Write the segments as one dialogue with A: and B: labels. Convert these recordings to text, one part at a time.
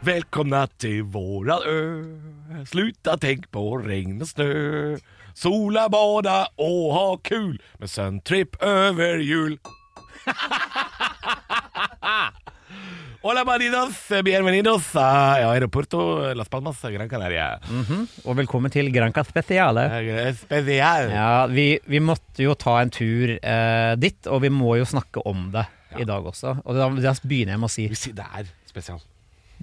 A: Välkomna till våran ö Sluta tänk på regn och snö Sola, bada och ha kul Med sömntripp över jul Hola maridos, bienvenidos a a Aeropuerto Las Palmas, Gran Canaria Eh,
B: Og velkommen til Granca Speciale.
A: Spesial
B: Ja, vi, vi måtte jo ta en tur eh, dit, og vi må jo snakke om det i dag også. Og da, da begynner jeg med å si
A: Vi sier det er spesial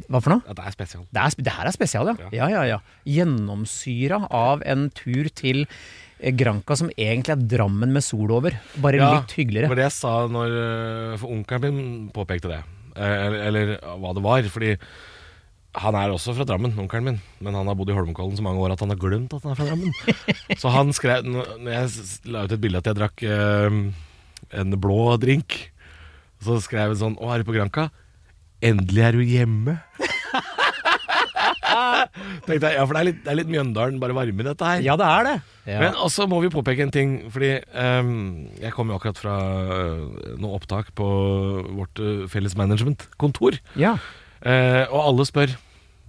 B: Hva for noe?
A: Ja, det er spesial
B: Det, er, sp- det her er spesial, ja. ja, ja, ja. Gjennomsyra av en tur til eh, Granca som egentlig er Drammen med sol over. Bare
A: Ja,
B: litt hyggeligere.
A: Det var det jeg sa når øh, For onkelen min påpekte det. Eh, Eller, eller hva det var. Fordi han er også fra Drammen, onkelen min. Men han har bodd i Holmenkollen så mange år at han har glemt at han er fra Drammen. så han skrev Når når jeg s- la ut et bilde at jeg drakk eh, en blå drink, så skrev han sånn Å, er du på Granca? Endelig er du hjemme. Tenkte jeg, ja, for det er litt, det er litt Mjøndalen, bare varme i dette her.
B: Ja, det er det. Ja.
A: Men også må vi påpeke en ting, fordi ehm, jeg kom jo akkurat fra eh, noe opptak på vårt eh, felles management-kontor.
B: ja.
A: Eh, og alle spør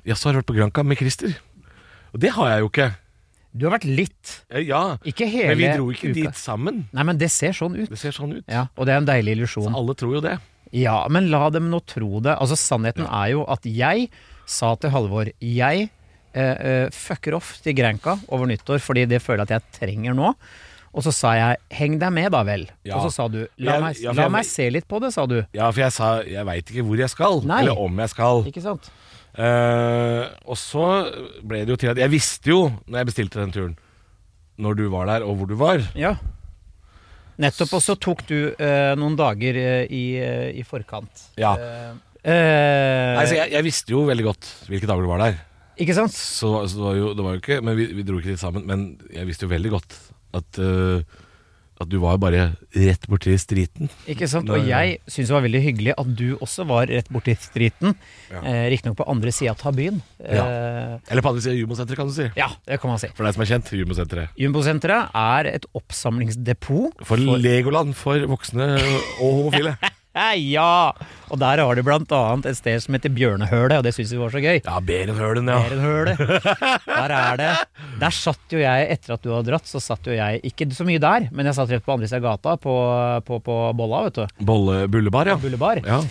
A: Jaså, har du vært på Granca med Christer? Og det har jeg jo ikke.
B: Du har vært litt.
A: Eh, ja,
B: Ikke hele
A: men vi dro ikke
B: uka.
A: dit sammen.
B: Nei, men det ser sånn ut.
A: Det ser sånn ut.
B: Ja, og det er en deilig illusjon.
A: Alle tror jo det.
B: Ja, men la dem nå tro det. Altså, sannheten er jo at jeg sa til Halvor Jeg eh, eh, fucker off til Granca over nyttår, fordi det føler jeg at jeg trenger nå. Og så sa jeg 'heng deg med, da vel'.
A: Ja.
B: Og så sa du la,
A: Jeg-
B: meg,
A: ja, for
B: la
A: jeg-
B: meg se litt på det', sa du.
A: Ja, for jeg sa jeg veit ikke hvor jeg skal,
B: Nei.
A: eller om jeg skal.
B: Ikke sant?
A: Eh, og så ble det jo til at jeg visste jo, når jeg bestilte den turen, når du var der, og hvor du var.
B: Ja. Nettopp. Og så tok du eh, noen dager eh, i, eh, i forkant.
A: Ja.
B: Eh,
A: Nei, så
B: eh,
A: Altså, jeg, jeg visste jo veldig godt hvilke dager du var der.
B: ikke sant?
A: Så, så det, var jo, det var jo ikke Men vi, vi dro ikke dit sammen. Men jeg visste jo veldig godt at, eh, at du var bare rett borti striten.
B: Ikke sant?
A: Nei,
B: Og
A: ja.
B: jeg syns det var veldig hyggelig at du også var rett borti striten. Eh, Riktignok på andre sida av byen. Eh,
A: Eller på andre siden av Jumosenteret, kan du si.
B: ja, det kan man si.
A: For deg som er kjent, Jumosenteret.
B: Jumbosenteret er et oppsamlingsdepot.
A: For Legoland for voksne og homofile.
B: Eh, ja! Og der har de blant annet et sted som heter Bjørnehølet, og det syns vi var så gøy.
A: Ja, Berenhølen,
B: Mer
A: ja.
B: enn hølet. Der er det. Der satt jo jeg, etter at du hadde dratt, så satt jo jeg ikke så mye der, men jeg satt rett på andre sida av gata, på, på, på Bolla, vet du.
A: Bolle, bullebar, ja.
B: Bullebar.
A: ja.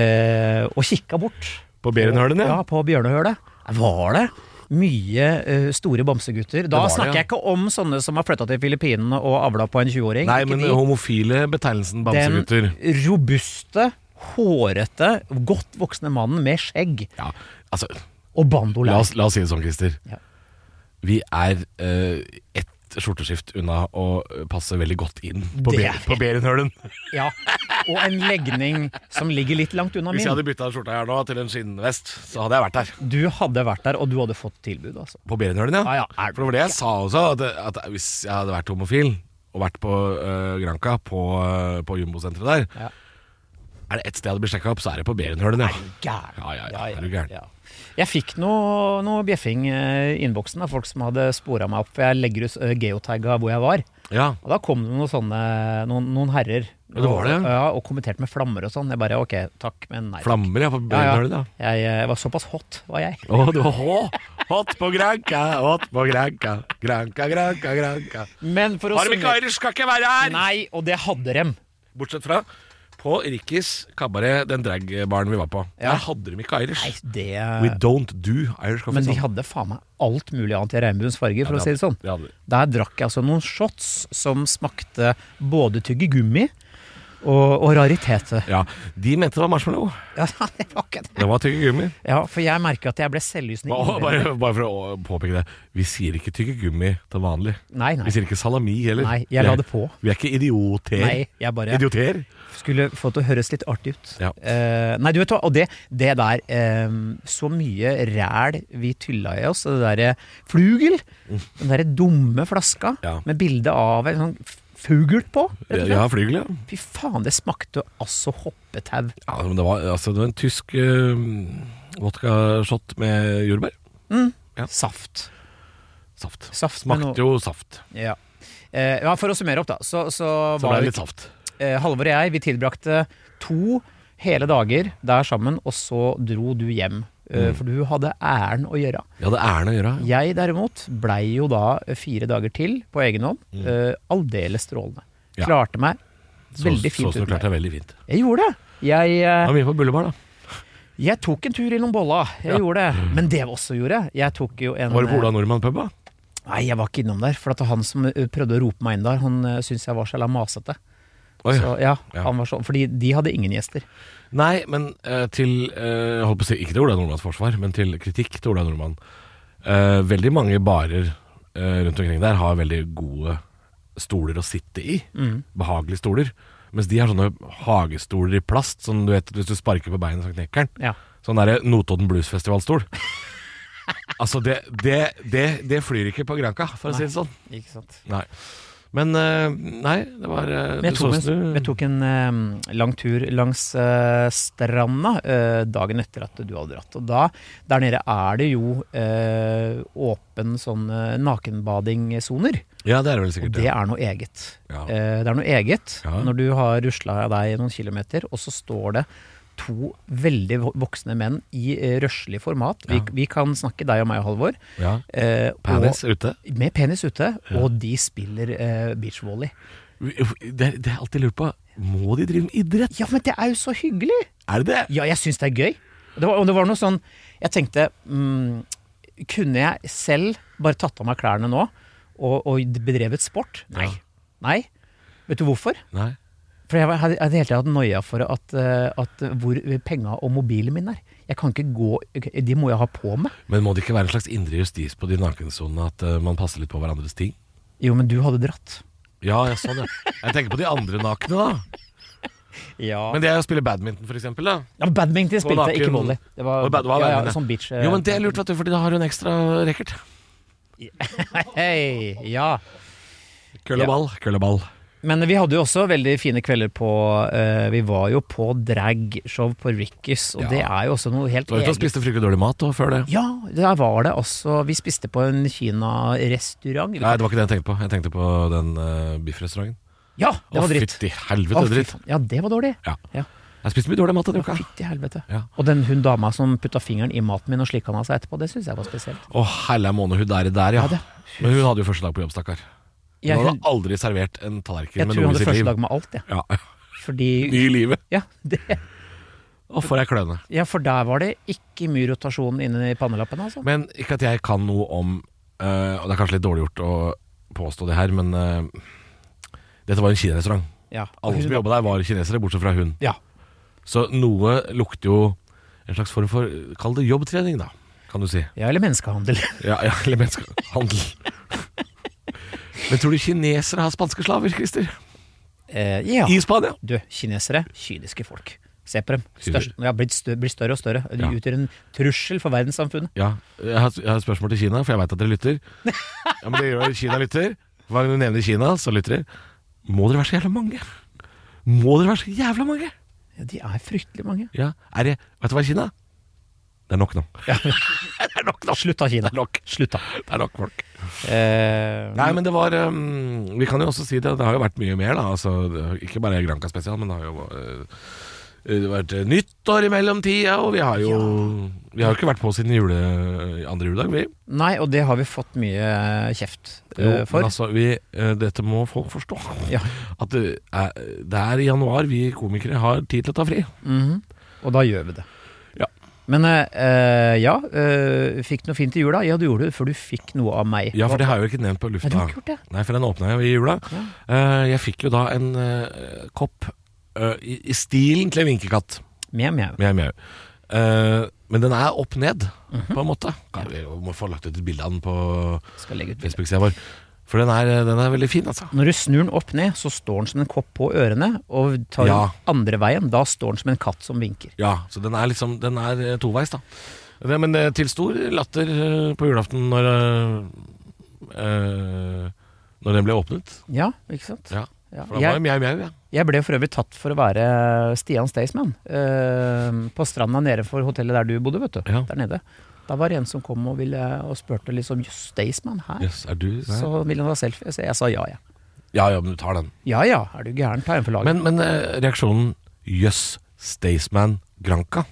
B: Eh, og kikka bort.
A: På Berenhølen,
B: ja.
A: ja.
B: på Bjørnehølet. Var det mye eh, store bamsegutter? Da
A: var det,
B: snakker
A: ja.
B: jeg ikke om sånne som har flytta til Filippinene og avla på en 20-åring.
A: Nei,
B: Ikke
A: men
B: de.
A: den homofile betegnelsen bamsegutter.
B: Den robuste, hårete, godt voksne mannen med skjegg
A: Ja, altså,
B: og
A: la
B: bandolær.
A: oss, la oss si det sånn, Christer.
B: Ja.
A: Vi er eh, ett skjorteskift unna å passe veldig godt inn på,
B: Det
A: Be
B: er
A: på Berenhølen.
B: Ja. Og en legning som ligger litt langt unna
A: Hvis
B: min.
A: jeg hadde bytta skjorta her nå til en skinnvest, så hadde jeg vært der.
B: Du hadde vært der, og du hadde fått tilbud, altså.
A: På Berenhølen, ja.
B: Ja, ja, er-
A: For det var det jeg sa også, at, at hvis jeg hadde vært homofil og vært på eh, Granca, på, eh, på jumbosenteret der
B: Ja.
A: Er det ett sted jeg hadde blitt sjekka opp, så er det på Berenhølen, ja.
B: Gæren.
A: Ja, ja, ja, er du gæren?
B: ja. Jeg fikk noe, noe bjeffing eh, i innboksen av folk som hadde spora meg opp, for jeg legger ut eh, geotagga hvor jeg var.
A: Ja.
B: Og da kom det noen sånne Noen, noen herrer
A: det var det,
B: Og,
A: ja.
B: ja, og kommenterte med flammer og sånn. Jeg bare ok, takk, men nei.
A: Flammer, ja, på
B: Ja, ja.
A: Berenhølen, ja.
B: Jeg, eh, var såpass hot, var jeg.
A: Å, du var hå! Hot på Granca, hot på Granca. Granca, Granca, Granca.
B: Men for å
A: Harm
B: summere-
A: Irish skal ikke være her!
B: Nei, og det hadde dem.
A: Bortsett fra på Rikkis kabaret, den dragbaren vi var på.
B: Ja.
A: Der hadde de ikke Irish.
B: Nei, det
A: We don't do Irish coffee.
B: Men de
A: sånn.
B: hadde faen meg alt mulig annet i regnbuens farger,
A: Ja,
B: for å si det sånn.
A: det hadde de.
B: Der drakk jeg altså noen shots som smakte både tyggegummi og, og rariteter.
A: Ja, De mente det var marshmallow.
B: Ja, det var ikke det.
A: Det var tyggegummi.
B: Ja, for jeg merker at jeg ble selvlysende.
A: Bare,
B: innvendig.
A: bare, bare for å påpeke det. Vi sier ikke tyggegummi til vanlig.
B: Nei,
A: Vi
B: nei.
A: sier ikke salami heller.
B: Nei, jeg la det på.
A: Vi er ikke idioter.
B: Nei, jeg bare
A: Idioter?
B: skulle få det til å høres litt artig ut.
A: Ja.
B: Eh, nei, du vet hva, og det, det der eh, Så mye ræl vi tylla i oss, og det derre flugel, den derre dumme flaska
A: Ja.
B: med bilde av en sånn f- fugl på, rett og slett.
A: Ja, flygel, ja.
B: Fy faen, det smakte altså hoppetau.
A: ja men det, var, altså, det var en tysk uh, vodkashot med jordbær. Ja.
B: Saft.
A: Saft.
B: Saft med noe-
A: Smakte jo saft.
B: Ja. Eh, ja, for å summere opp, da, så, så,
A: Så ble
B: var
A: det
B: vi,
A: litt saft.
B: eh, Halvor og jeg, vi tilbrakte to hele dager der sammen, og så dro du hjem. eh,
A: Mm.
B: For du hadde æren å gjøre.
A: Vi hadde æren å gjøre.
B: Jeg derimot blei jo da fire dager til på egen hånd. eh, Aldeles strålende.
A: Mm. Ja.
B: Klarte meg
A: Så-
B: veldig fint
A: Så, så
B: uten
A: klarte jeg veldig fint.
B: Jeg gjorde det. Jeg,
A: Det
B: eh,
A: var mye på Bullebar, da.
B: jeg tok en tur innom Bolla. Jeg
A: Ja. Mm.
B: gjorde det. Men det jeg også gjorde, jeg tok jo en eh,
A: Var det på Ola Nordmann pub, da?
B: Nei, jeg var ikke innom der. For at han som eh, prøvde å rope meg inn der, han eh, syntes jeg var så jævla masete.
A: Oi.
B: Så, ja,
A: Ja.
B: Han var så, fordi de hadde ingen gjester.
A: Nei, men eh, til eh, Jeg holdt på å si ikke til Ola Nordmanns forsvar, men til kritikk til Ola Nordmann. Eh, veldig mange barer eh, rundt omkring der har veldig gode stoler å sitte i.
B: Mm.
A: Behagelige stoler. Mens de har sånne hagestoler i plast, sånn du vet hvis du sparker på beinet, så knekker den.
B: Ja.
A: Sånn derre Notodden Bluesfestival-stol. altså, det, det, det, det flyr ikke på Granka, for å si det sånn.
B: Ikke sant?
A: Nei. Men eh, nei, det var eh,
B: Men jeg
A: det
B: tok
A: så
B: en,
A: ut som du-
B: jeg tok en eh, lang tur langs eh, stranda eh, dagen etter at du hadde dratt. Og da, der nede er det jo eh, åpen sånn eh, nakenbadingsoner.
A: Ja, det er det vel
B: Og
A: sikkert.
B: det
A: ja.
B: er noe eget.
A: Ja.
B: Eh, det er noe eget
A: Ja.
B: når du har rusla deg noen kilometer, og så står det to veldig vo- voksne menn i eh, røslig format. Vi,
A: Ja.
B: vi kan snakke deg og meg, Halvor.
A: ja.
B: eh, og-
A: Panis ute.
B: Med penis ute, og de spiller eh, beachvolley.
A: Det, er- det har jeg alltid lurt på. Må de drive med idrett?
B: Ja, men det er jo så hyggelig!
A: Er det det?
B: Ja, jeg syns det er gøy. Det var, og det var noe sånn Jeg tenkte mm, Kunne jeg selv bare tatt av meg klærne nå og, og bedrevet sport? Nei.
A: Ja.
B: Nei. Vet du hvorfor?
A: Nei.
B: For jeg var- hadde hadde hele tida hatt noia for at, eh, at hvor penga og mobilen min er. Jeg kan ikke gå De må jeg ha på meg.
A: Men må det ikke være en slags indre justis på de nakensonene at eh, man passer litt på hverandres ting?
B: Jo, men du hadde dratt.
A: Ja, jeg så det. Jeg tenker på de andre nakne, da.
B: Ja.
A: Men det er å spille badminton, for eksempel, da.
B: ja men badminton spilte jeg, ikke
A: naken-
B: volley. Det var,
A: Og bad- hva er
B: ja, ja,
A: badminton?
B: sånn beach. eh,
A: Jo, men det er lurt, vet du, fordi da har du en ekstra racket.
B: Hei, ja.
A: Kølle
B: Ja.
A: og ball, kølle og ball.
B: Men vi hadde jo også veldig fine kvelder på eh, Vi var jo på dragshow på Rickys, og
A: Ja.
B: det er jo også noe helt
A: Du var ute og
B: eget.
A: spiste fryktelig dårlig mat da, før det.
B: Ja, der var det altså Vi spiste på en kinarestaurant.
A: Nei, det var ikke det jeg tenkte på. Jeg tenkte på den uh, biffrestauranten.
B: Ja, det var dritt.
A: fytti
B: Å,
A: helvete,
B: fy
A: dritt.
B: faen. Ja, det var dårlig.
A: Ja.
B: Ja.
A: Jeg spiste mye dårlig mat denne uka.
B: Fytti helvete.
A: Ja.
B: Og den hun dama som putta fingeren i maten min og slikka han av seg etterpå, det syns jeg var spesielt.
A: Å, helle måne, hun der, der, ja.
B: Ja, det-
A: Men hun hadde jo første dag på jobb, stakkar. Hun
B: Jeg,
A: hadde
B: hun,
A: aldri servert en tallerken
B: jeg
A: med
B: tror
A: noe i
B: hun hadde
A: sitt
B: første
A: liv.
B: dag med alt, jeg.
A: Ja.
B: Fordi
A: Ny i livet.
B: ja, det,
A: Å, for ei kløne.
B: ja, for der var det ikke mye rotasjon inne i pannelappen, altså.
A: Men ikke at jeg kan noe om eh, Og det er kanskje litt dårlig gjort å påstå det her, men eh, dette var en kinarestaurant.
B: Ja.
A: Alle som jobba der, var kinesere, bortsett fra hun.
B: Ja.
A: Så noe lukter jo en slags form for Kall det jobbtrening, da, kan du si.
B: ja, eller menneskehandel.
A: Ja, ja eller menneskehandel. Men tror du kinesere har spanske slaver, Christer?
B: Eh, ja.
A: I Spania?
B: Du, kinesere, kyniske folk. Se på dem.
A: Kyniske.
B: Størst, de har blitt stø, blir større og større. De
A: Ja.
B: utgjør en trussel for verdenssamfunnet.
A: Ja, jeg har, jeg har et spørsmål til Kina, for jeg veit at dere lytter. Ja, men det gjør at Kina lytter. Hver gang du nevner Kina, så lytter dere. Må dere være så jævla mange? Må dere være så jævla mange?
B: Ja, de er fryktelig mange.
A: Ja, er det Vet du hva, Kina? Det er nok nå. det er nok nå.
B: Slutt da, Kina.
A: Det er nok.
B: Slutt da.
A: Det er nok folk.
B: Eh,
A: Nei, men det var ehm, Vi kan jo også si det, det har jo vært mye mer, da. Altså, det- ikke bare Granca spesial, men det har jo eh, det har vært eh, nyttår i mellomtida, og vi har jo Vi har jo ikke vært på siden jule, uh, andre juledag, vi.
B: nei, og det har vi fått mye kjeft
A: Jo,
B: eh, for.
A: men altså, vi, eh, dette må folk forstå.
B: Ja.
A: At det er, det er i januar vi komikere har tid til å ta fri.
B: Mhm. Og da gjør vi det.
A: Ja.
B: Men eh, eh, ja, eh, fikk noe fint i jula? Ja, du gjorde det før du fikk noe av meg.
A: Ja, for det
B: Hva-
A: har jeg jo ikke nevnt på
B: Nei, du
A: lufta.
B: har ikke gjort det.
A: Nei, for den åpna jeg jo i jula.
B: Ja.
A: Eh, Jeg fikk jo da en eh, kopp øh, i, i stilen til en vinkekatt.
B: Mjau, mjau.
A: Mjau, mjau. Eh, men den er opp ned,
B: Mhm.
A: på en måte. Kan vi vi må få lagt ut et bilde av den på
B: Skal legge ut bilde.
A: Facebook-sida vår. For den er, den er veldig fin, altså.
B: Når du snur den opp ned, så står den som en kopp på ørene, og tar
A: Ja.
B: den andre veien, da står den som en katt som vinker.
A: Ja, så den er liksom Den er eh, toveis, da. Det, men eh, til stor latter eh, på julaften når eh, eh, Når den ble åpnet.
B: Ja, ikke sant?
A: Ja.
B: Ja,
A: For da var
B: jeg,
A: det mjau, mjau. Ja.
B: jeg ble for øvrig tatt for å være Stian Staysman eh, på stranda nede for hotellet der du bodde, vet du.
A: Ja.
B: Der nede. Da var det en som kom og, ville, og spurte liksom Jøss, Staysman her?
A: Yes, er du der?
B: Så ville han ha selfie. Så jeg sa ja, ja.
A: Ja, ja, men du tar den.
B: Ja ja, er du gæren? Ta en for laget.
A: Men, men eh, reaksjonen Jøss, Staysman Granca.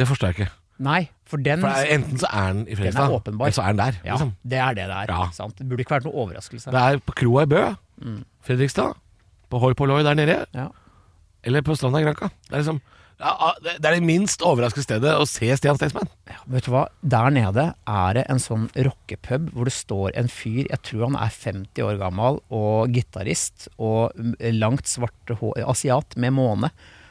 A: Det forstår jeg ikke.
B: Nei, for den,
A: For det er, Enten så er den i Fredrikstad,
B: Mm. Den er åpenbar.
A: eller så er den der.
B: ja,
A: Liksom.
B: det er det det er.
A: Ja.
B: Sant? Det burde ikke vært noen overraskelse.
A: Det er på kroa i Bø,
B: Mm.
A: Fredrikstad, på Hoi Polloi der nede,
B: Ja.
A: eller på stranda i Granca. Det er liksom ja, ah, det det er det minst overraskende stedet å se Stian Staysman.
B: Ja, Vet du hva, der nede er det en sånn rockepub hvor det står en fyr, jeg tror han er 50 år gammel, og gitarist, og mm, langt svarte hår, asiat med måne,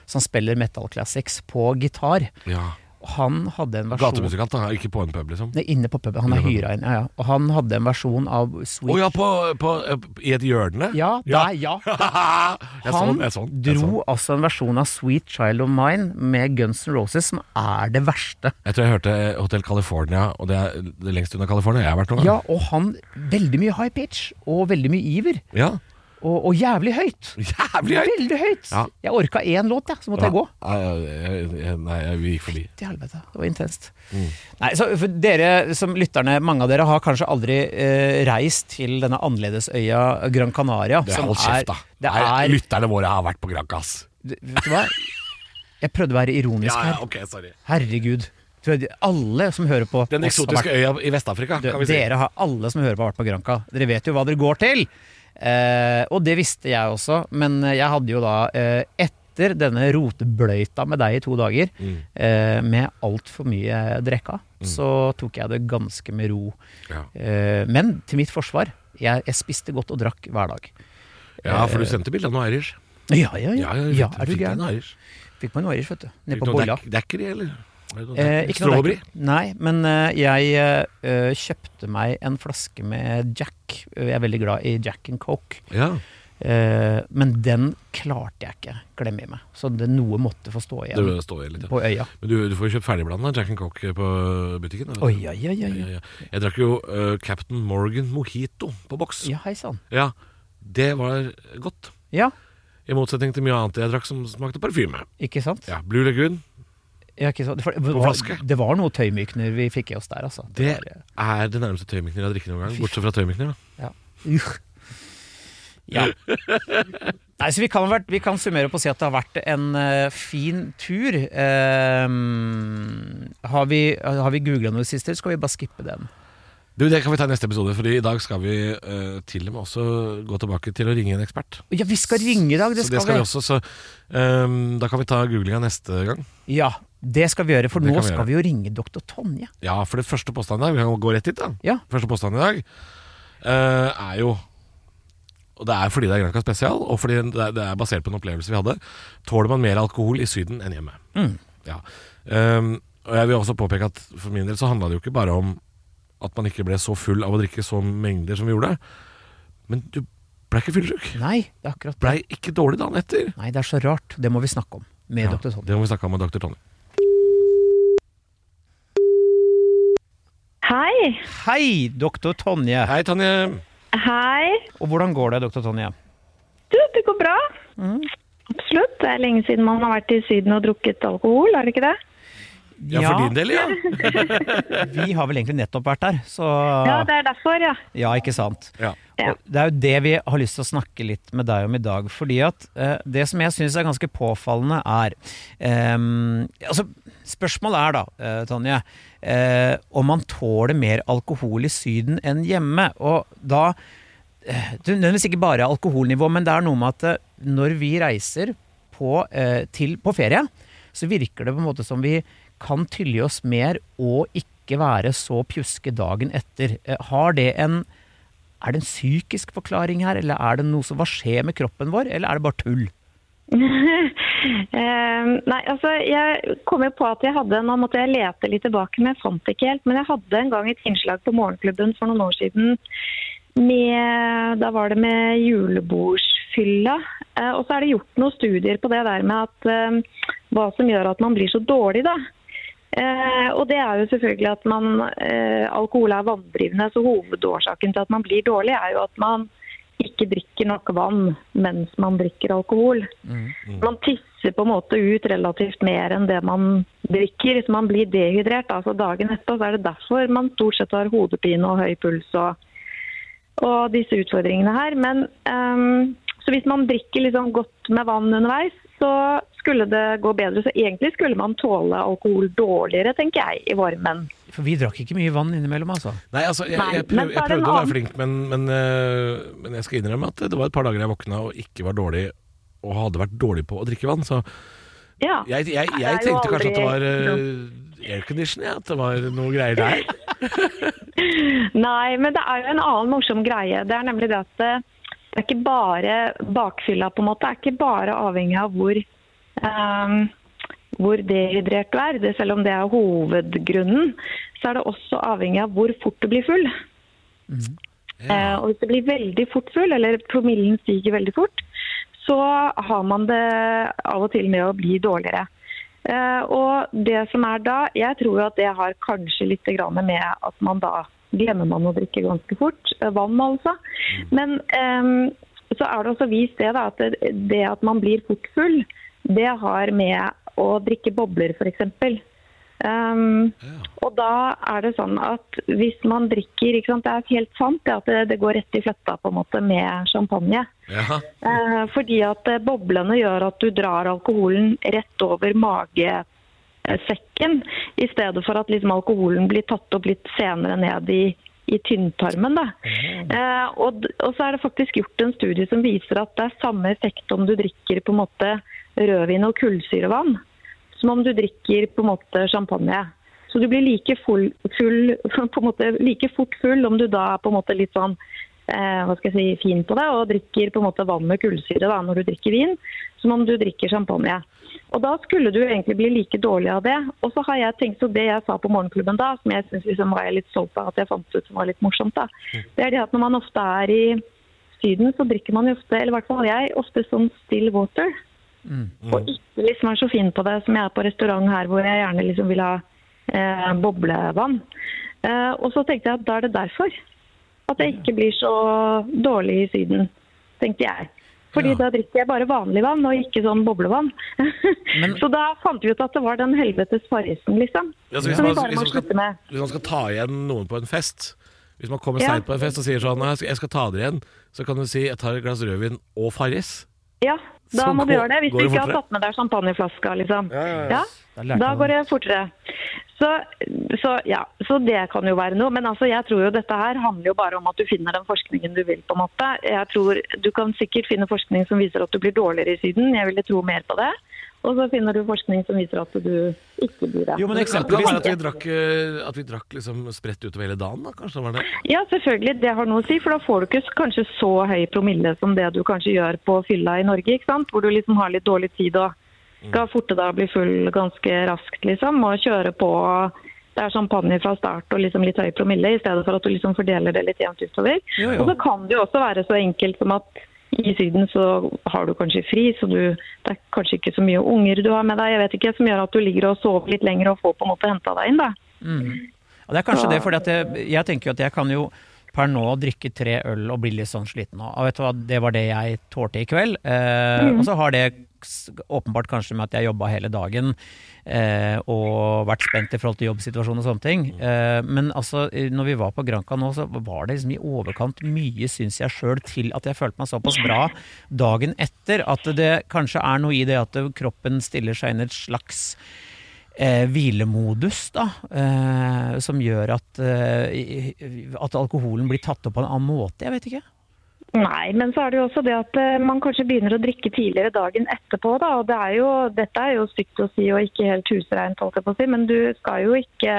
B: som spiller metal classics på gitar.
A: Ja.
B: Og han hadde en versjon...
A: Gatemusikant, da. Ikke på en pub, liksom.
B: Det er inne på puben, han er
A: Inne på
B: hyra inn, ja, ja. Og han hadde en versjon av
A: Å
B: Sweet...
A: ja, på, på, eh, i et hjørne?
B: Ja, der, ja.
A: jeg så
B: Han
A: den, jeg så den. Jeg, så
B: dro
A: den.
B: altså en versjon av Sweet Child of Mine med Guns N' Roses, som er det verste.
A: jeg tror jeg hørte eh, Hotel California, og det er det lengste unna California jeg har vært noen
B: Ja,
A: gang.
B: og han, veldig mye high pitch, og veldig mye iver,
A: Ja.
B: og, og jævlig høyt.
A: Jævlig høyt!
B: Veldig høyt.
A: Ja.
B: Jeg orka én låt, jeg, så måtte jeg gå.
A: Ja, jeg- jeg- jeg- Nei, jeg- vi gikk forbi.
B: Til helvete. Det var intenst.
A: Mm.
B: Nei, så for dere som lytterne, mange av dere har kanskje aldri eh, reist til denne annerledesøya Gran Canaria.
A: Det er
B: som
A: hold
B: er-
A: kjeft, da.
B: Det
A: Nei,
B: er
A: Lytterne våre har vært på Granca, ass.
B: Vet du hva? Jeg prøvde å være ironisk
A: Ja, ja,
B: her.
A: ok, sorry.
B: Herregud. Tror jeg de- Alle som hører på
A: Den
B: oss har vært-
A: eksotiske øya i Vest-Afrika, kan vi si.
B: Dere har alle som hører på, har vært på Granca. Dere vet jo hva dere går til. Eh, og det visste jeg også, men jeg hadde jo da eh, etter denne rotebløyta med deg i to dager,
A: Mm.
B: eh, med altfor mye drikka, så tok jeg det ganske med ro.
A: Ja.
B: Eh, men til mitt forsvar, jeg, jeg spiste godt og drakk hver dag.
A: ja, for du sendte bilde av noe Irish.
B: Ja, ja, ja.
A: Ja, ja,
B: ja
A: fikk-
B: er du
A: fikk
B: gæren?
A: en Irish.
B: Fikk meg en Irish, vet du.
A: Fikk
B: Nede
A: du
B: på
A: noe
B: Bolla.
A: dack- Daiquiri, eller? Var det noe
B: Eh,
A: daiquiri?
B: ikke noe
A: Strawberry?
B: daiquiri. Nei, men eh, jeg eh, kjøpte meg en flaske med Jack. Jeg er veldig glad i Jack and Coke.
A: Ja.
B: Eh, men den klarte jeg ikke glemme i meg. Så det, noe måtte få stå
A: Det
B: igjen
A: bør stå i litt, ja.
B: på øya.
A: Men du, du får jo kjøpt ferdigblanda Jack and Coke på butikken. da, vet
B: Oi,
A: du.
B: oi, oi, oi.
A: Ja, ja. Jeg drakk jo eh, Captain Morgan Mojito på boks. Ja.
B: Ja, hei sann.
A: Det var godt.
B: Ja,
A: I motsetning til mye annet jeg drakk som smakte parfyme.
B: ikke sant?
A: Ja, Blue Lagoon,
B: Ja, ikke sant? For, det,
A: På
B: var,
A: flaske.
B: det var noe tøymykner vi fikk i oss der, altså.
A: det
B: var, eh,
A: er det nærmeste tøymikner jeg har drukket noen gang.
B: Fy
A: Bortsett fra tøymikner, da.
B: ja. Ugh. ja. Nei, så vi kan, ha vært, vi kan summere opp og si at det har vært en eh, fin tur. Ehm, har vi, har vi googla noe sist, eller skal vi bare skippe den?
A: Du, Det kan vi ta i neste episode, Fordi i dag skal vi eh, til og med også gå tilbake til å ringe en ekspert.
B: Ja, vi skal ringe i dag! Det
A: så
B: skal,
A: det skal vi også. Så ehm, da kan vi ta googlinga neste gang.
B: Ja, det skal vi gjøre, for
A: Det
B: nå
A: kan vi
B: skal
A: gjøre.
B: vi jo ringe doktor Tonje.
A: Ja, for det første påstanden i dag, vi kan gå rett dit, da.
B: Ja.
A: Første påstand i dag eh, er jo Og det er fordi det er Granca spesial, og fordi det er, det er basert på en opplevelse vi hadde. Tåler man mer alkohol i Syden enn hjemme? Ja. Ehm, og jeg vil også påpeke at for min del så handla det jo ikke bare om at man ikke ble så full av å drikke så mengder som vi gjorde, men du blei ikke fyllesyk.
B: Nei, det er akkurat
A: Blei ikke dårlig dagen etter.
B: Nei, det er så rart. Det må vi snakke om med
A: Ja,
B: doktor Tonje.
A: det må vi snakke om med dr. Tonje.
C: Hei.
B: Hei, doktor Tonje!
A: Hei, Tonje.
C: Hei.
B: Og hvordan går det, doktor Tonje?
C: Du, det går bra. Absolutt. Det er lenge siden man har vært i Syden og drukket alkohol, er det ikke det?
A: Ja, for din del, ja.
B: vi har vel egentlig nettopp vært der, så
C: Ja, det er derfor, ja.
B: Ja, ikke sant.
A: ja.
C: Ja.
B: Og det er jo det vi har lyst til å snakke litt med deg om i dag. Fordi at eh, det som jeg syns er ganske påfallende, er ehm, Altså, spørsmålet er da, eh, Tonje, eh, om man tåler mer alkohol i Syden enn hjemme. Og da eh, det er Nødvendigvis ikke bare alkoholnivå, men det er noe med at eh, når vi reiser på, eh, til, på ferie, så virker det på en måte som vi kan tylle oss mer og ikke være så pjuske dagen etter. Eh, Har det en er det en psykisk forklaring her, eller er det noe som hva skjer med kroppen vår, eller er det bare tull?
C: Eh, Nei, altså jeg kom jo på at jeg hadde, nå måtte jeg lete litt tilbake, men jeg fant ikke helt. Men jeg hadde en gang et innslag på Morgenklubben for noen år siden. Med, da var det med julebordsfylla. Eh, Og så er det gjort noen studier på det der med at eh, hva som gjør at man blir så dårlig, da. Eh, og det er jo selvfølgelig at man, eh, alkohol er vanndrivende, så hovedårsaken til at man blir dårlig er jo at man ikke drikker nok vann mens man drikker alkohol. Man tisser på en måte ut relativt mer enn det man drikker, så man blir dehydrert. Altså dagen etter så er det derfor man stort sett har hodepine og høy puls og, og disse utfordringene her. Men ehm, så hvis man drikker liksom godt med vann underveis, så skulle det gå bedre. Så egentlig skulle man tåle alkohol dårligere, tenker jeg, i varmen.
B: For vi drakk ikke mye vann innimellom, altså.
A: Nei, altså, jeg,
C: Nei,
A: jeg,
C: men
A: prøv,
C: så
A: jeg
C: er det en
A: prøvde å være
C: annen-
A: flink, men, men, øh, men jeg skal innrømme at det var et par dager jeg våkna og ikke var dårlig, og hadde vært dårlig på å drikke vann. Så
C: Ja.
A: jeg, jeg, jeg,
C: Det er jo
A: tenkte kanskje at det var
C: aldri-
A: øh, aircondition, ja, at det var noe greier der.
C: Nei, men det er jo en annen morsom greie. Det er nemlig det at eh, det er ikke bare bakfylla på en måte. Det er ikke bare avhengig av hvor, eh, hvor dehydrert du er. Det, selv om det er hovedgrunnen, så er det også avhengig av hvor fort du blir full. Eh, og hvis du blir veldig fort full, eller promillen stiger veldig fort, så har man det av og til med å bli dårligere. Eh, og det som er da, jeg tror jo at det har kanskje litt grann med at man da glemmer man å drikke ganske fort. eh, Vann, altså. Men eh, så er det også vist det da, at det- det at man blir fort full, det har med å drikke bobler, f.eks. Um, og da er det sånn at hvis man drikker ikke sant, Det er helt sant det at det, det går rett i fletta på en måte med champagne.
A: Ja.
C: Eh, fordi at eh, boblene gjør at du drar alkoholen rett over magesekken, i stedet for at liksom, alkoholen blir tatt opp litt senere ned i, i tynntarmen. Da. Eh, og, d- og så er det faktisk gjort en studie som viser at det er samme effekt om du drikker på en måte rødvin og kullsyrevann, som om du drikker på en måte champagne. Så du blir like, full, full, på en måte, like fort full om du da er på en måte litt sånn eh, hva skal jeg si, fin på det, og drikker på en måte vann med kullsyre da, når du drikker vin, som om du drikker champagne. Og Da skulle du egentlig bli like dårlig av det. Og så har jeg tenkt, så Det jeg sa på Morgenklubben da, som jeg synes liksom var jeg litt stolt av at jeg fant ut som var litt morsomt, da, det er det at når man ofte er i Syden, så drikker man jo ofte, eller i hvert fall jeg, ofte sånn still water.
A: Mm.
C: Og ikke liksom er så fin på det som jeg er på restaurant her, hvor jeg gjerne liksom vil ha eh, boblevann. Eh, og så tenkte jeg at da er det derfor. At jeg ikke blir så dårlig i Syden, tenkte jeg. Fordi
B: Ja.
C: da drikker jeg bare vanlig vann, og ikke sånn boblevann.
B: Men-
C: så da fant vi ut at det var den helvetes farrisen, liksom.
A: Ja, så
C: som vi
A: man-
C: bare må
A: man skal-
C: slutte med.
A: hvis man skal ta igjen noen på en fest Hvis man kommer
C: Ja.
A: seint på en fest og sier sånn «Nei, jeg skal ta dere igjen, så kan du si jeg tar et glass rødvin og Farris.
C: Ja, da
A: Så
C: må du
A: går-
C: gjøre det. Hvis
A: går
C: du
A: det
C: ikke har
A: fortere?
C: tatt med deg champagneflaska, liksom.
A: Ja, ja, ja.
B: Da
C: ja
B: lærte
C: da
B: man.
C: går det fortere. Så, så, ja, så det kan jo være noe. Men altså, jeg tror jo dette her handler jo bare om at du finner den forskningen du vil. på en måte. Jeg tror Du kan sikkert finne forskning som viser at du blir dårligere i Syden. Jeg ville tro mer på det. Og så finner du forskning som viser at du ikke blir det.
B: Jo, men
A: Det kan
B: eksempelvis
A: være at vi drakk, eh, at vi drakk liksom spredt utover hele dagen, da. Kanskje det var det.
C: Ja, selvfølgelig. Det har noe å si. For da får du ikke kanskje så høy promille som det du kanskje gjør på fylla i Norge. ikke sant? Hvor du liksom har litt dårlig tid og skal forte deg å bli full ganske raskt, liksom. Og kjøre på. Det er champagne fra start og liksom litt høy promille, i stedet for at du liksom fordeler det litt jevnt utover.
B: Jo, jo.
C: Og så kan det jo også være så enkelt som at i Syden så har du kanskje fri, så du, det er kanskje ikke så mye unger du har med deg, jeg vet ikke, som gjør at du ligger og sover litt lenger og får på en måte henta deg inn, da.
B: Ja, det er kanskje det, for jeg, jeg tenker jo at jeg kan jo per nå drikke tre øl og bli litt sånn sliten. Og vet du hva, det var det jeg tålte i kveld. Eh, Og så har det s- åpenbart kanskje med at jeg jobba hele dagen eh, og vært spent i forhold til jobbsituasjonen og sånne ting. Eh, men altså, eh, når vi var på Granca nå, så var det liksom i overkant mye, syns jeg sjøl, til at jeg følte meg såpass bra dagen etter. At det kanskje er noe i det at kroppen stiller seg inn i et slags eh, hvilemodus, da, eh, som gjør at, eh, i- i- at alkoholen blir tatt opp på en annen måte. Jeg vet ikke.
C: Nei, men så er det jo også det at eh, man kanskje begynner å drikke tidligere dagen etterpå. da, og det er jo, Dette er jo stygt å si og ikke helt husreint, holdt jeg på å si, men du skal jo ikke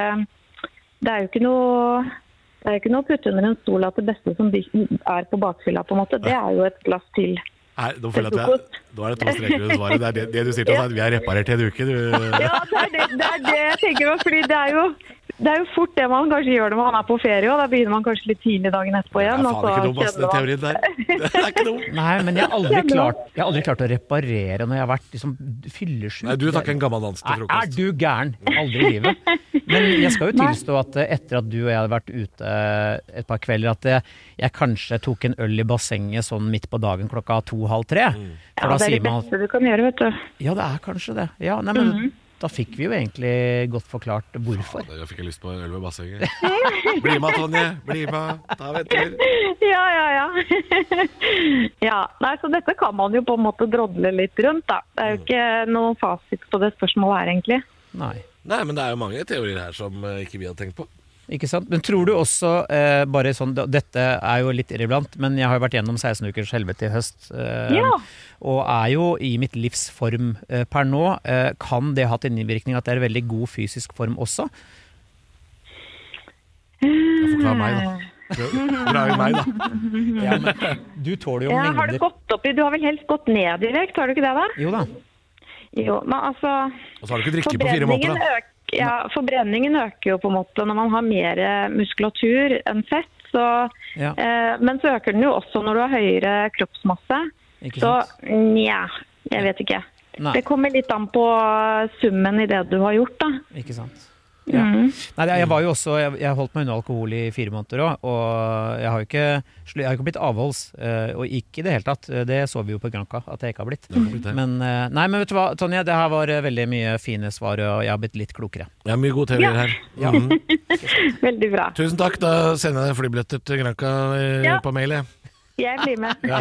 C: Det er jo ikke noe det er jo ikke noe å putte under en stol at det beste som by- er på bakfylla, på en måte, det er jo et glass til.
A: Nei, nå føler jeg at jeg, nå er det to streker under svaret. Det er det, det du sier til oss, er at vi er reparert i en uke. Du.
C: Ja, det er det, det, er det jeg tenker på. Fordi det er, jo, det er jo fort det man kanskje gjør når man er på ferie. Og da begynner man kanskje litt tidlig dagen etterpå
A: Det er
C: igjen. og
A: faen
C: så
A: ikke dum, ass,
C: kjenner
A: den
C: man-
A: teorien der. Det er ikke dum.
B: Nei, men jeg har aldri
C: Kjenner du?
B: klart, jeg har aldri klart å reparere når jeg har vært liksom, fyllesyk.
A: Nei, du tar ikke en gammel dans til
B: Nei, Er
A: frokost.
B: du gæren? Aldri i livet. Men jeg skal jo tilstå at eh, etter at du og jeg hadde vært ute et par kvelder, at eh, jeg kanskje tok en øl i bassenget sånn midt på dagen klokka to-halv tre.
A: Mm.
B: For
C: Ja,
B: da
C: det er
B: sier
C: det
B: man at
C: beste du kan gjøre, vet du.
B: ja, det er kanskje det. Ja, nei, men
C: Mhm.
B: da fikk vi jo egentlig godt forklart hvorfor.
A: Da fikk jeg lyst på en øl ved bassenget. Bli med, Tonje. Bli med. Ta en tur.
C: Ja, ja, ja. ja. Nei, så dette kan man jo på en måte drodle litt rundt, da. Det er jo ikke noen fasit på det spørsmålet her, egentlig.
B: Nei.
A: Nei, men det er jo mange teorier her som eh, ikke vi hadde tenkt på.
B: Ikke sant? Men tror du også, eh, bare sånn, da- dette er jo litt irrelevant, men jeg har jo vært gjennom 16 ukers helvete i høst. Eh,
C: Ja.
B: Og er jo i mitt livs form eh, per nå. Eh, kan det ha hatt en innvirkning at det er veldig god fysisk form også?
A: Ja, Forklar meg,
C: Mm.
A: da. Prøv- Dra i meg, da.
B: Ja, men du tåler jo
C: Mhm. Ja, har
B: mengder.
C: du gått opp i Du har vel helst gått ned i vekt, har du ikke det, da?
B: Jo da.
C: Jo, men altså
A: Og så har du ikke drikke på fire måneder, da.
C: øk- ja, forbrenningen øker jo på en måte når man har mer eh, muskulatur enn fett. Så,
B: Ja,
C: eh, men så øker den jo også når du har høyere kroppsmasse.
B: ikke
C: Så
B: sant?
C: nja, jeg vet ikke.
B: Nei,
C: Det kommer litt an på summen i det du har gjort, da. Mm.
B: ikke sant. Ja. Nei, det- jeg
A: Mm.
B: var jo også Jeg, jeg holdt meg unna alkohol i fire måneder òg, og jeg har jo ikke, slu- jeg har ikke blitt avholds. eh, Og ikke i det hele tatt. Det så vi jo på Granca at jeg ikke har blitt.
A: Men-
B: Men, eh, nei, men vet du hva, Tonje, det her var eh, veldig mye fine svar, og jeg har blitt litt klokere.
A: Det er mye gode teorier her.
B: Ja.
A: Mhm.
C: Veldig bra.
A: Tusen takk. Da sender jeg deg flybilletter til Granca eh,
C: Ja.
A: på mail, jeg.
C: Jeg blir med.
A: Ja.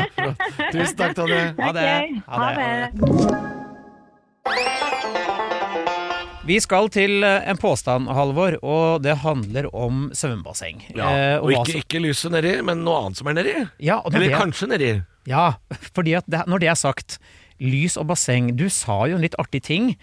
A: Tusen takk, Tonje.
B: Ha det.
C: Ok,
B: Ha
C: Ha
B: det.
C: det.
B: Vi skal til eh, en påstand, Halvor, og det handler om svømmebasseng. Eh,
A: Ja, og
B: hva
A: ikke,
B: som-
A: ikke lyset nedi, men noe annet som er nedi.
B: ja, og når
A: Eller
B: det,
A: kanskje nedi.
B: ja, fordi at det, når det er sagt, lys og basseng Du sa jo en litt artig ting.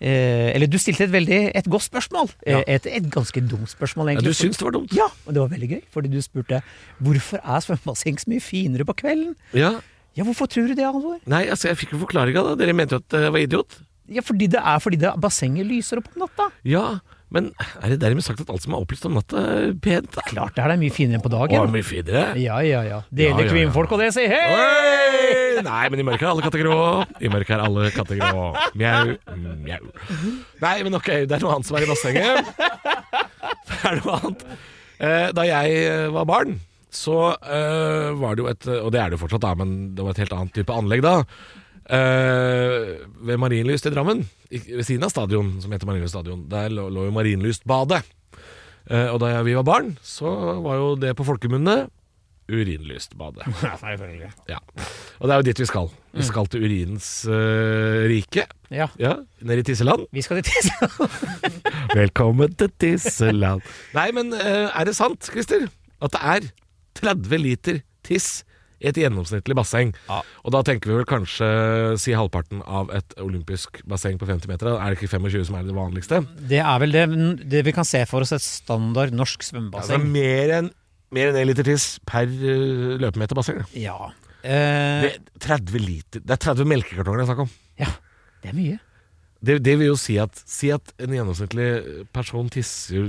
B: Eh, eller du stilte et veldig et godt spørsmål.
A: Ja.
B: Eh, Et, et ganske dumt spørsmål,
A: Ja, du
B: egentlig.
A: syns det var dumt?
B: Ja, og det var veldig gøy, fordi du spurte hvorfor er svømmebasseng så mye finere på kvelden.
A: Ja.
B: Ja, hvorfor tror du det, Halvor?
A: Nei, altså, jeg fikk jo forklaringa, da. Dere mente jo at jeg var idiot.
B: Ja, fordi det er fordi det bassenget lyser opp om natta.
A: Ja, men er det dermed sagt at alt som er opplyst om natta, er pent? da?
B: Klart det her er mye finere enn på
A: Å, det er
B: dagen.
A: mye finere.
B: Ja, ja, ja. Det gjelder
A: Ja, ja, ja.
B: kvinnfolk, og det sier hei!
A: Oi! Nei, men i mørket er alle katter grå. I mørket er alle katter grå. Mjau, mjau. Nei, men ok, det er noe annet som er i bassenget. Det er noe annet. Eh, Da jeg eh, var barn, så eh, var det jo et Og det er det jo fortsatt, da, men det var et helt annet type anlegg da. Eh, ved Marienlyst i Drammen, i- ved siden av stadion, som heter Marienlyst stadion, der lå, lå jo Marienlystbadet. Eh, og da jeg- vi var barn, så var jo det på folkemunne Urinlystbadet. Ja. Og det er jo dit vi skal. Vi skal til urinens eh, rike.
B: Ja,
A: Ja, nede i Tisseland.
B: vi skal dit.
A: Velkommen til Tisseland. Nei, men eh, er det sant, Christer, at det er 30 liter tiss i et gjennomsnittlig basseng? Og da tenker vi vel kanskje si halvparten av et olympisk basseng på 50 meter. da. Er det ikke 25 som er det vanligste?
B: Det er vel det, det vi kan se for oss et standard
A: Ja, det
B: norsk
A: er
B: svømmebasseng.
A: mer enn mer enn 1 liter tiss per eh, løpemeter basseng. da.
B: Ja. Eh,
A: Det, er 30 liter, det er 30 melkekartonger det er snakk om.
B: ja. Det er mye.
A: Det, det vil jo si at Si at en gjennomsnittlig person tisser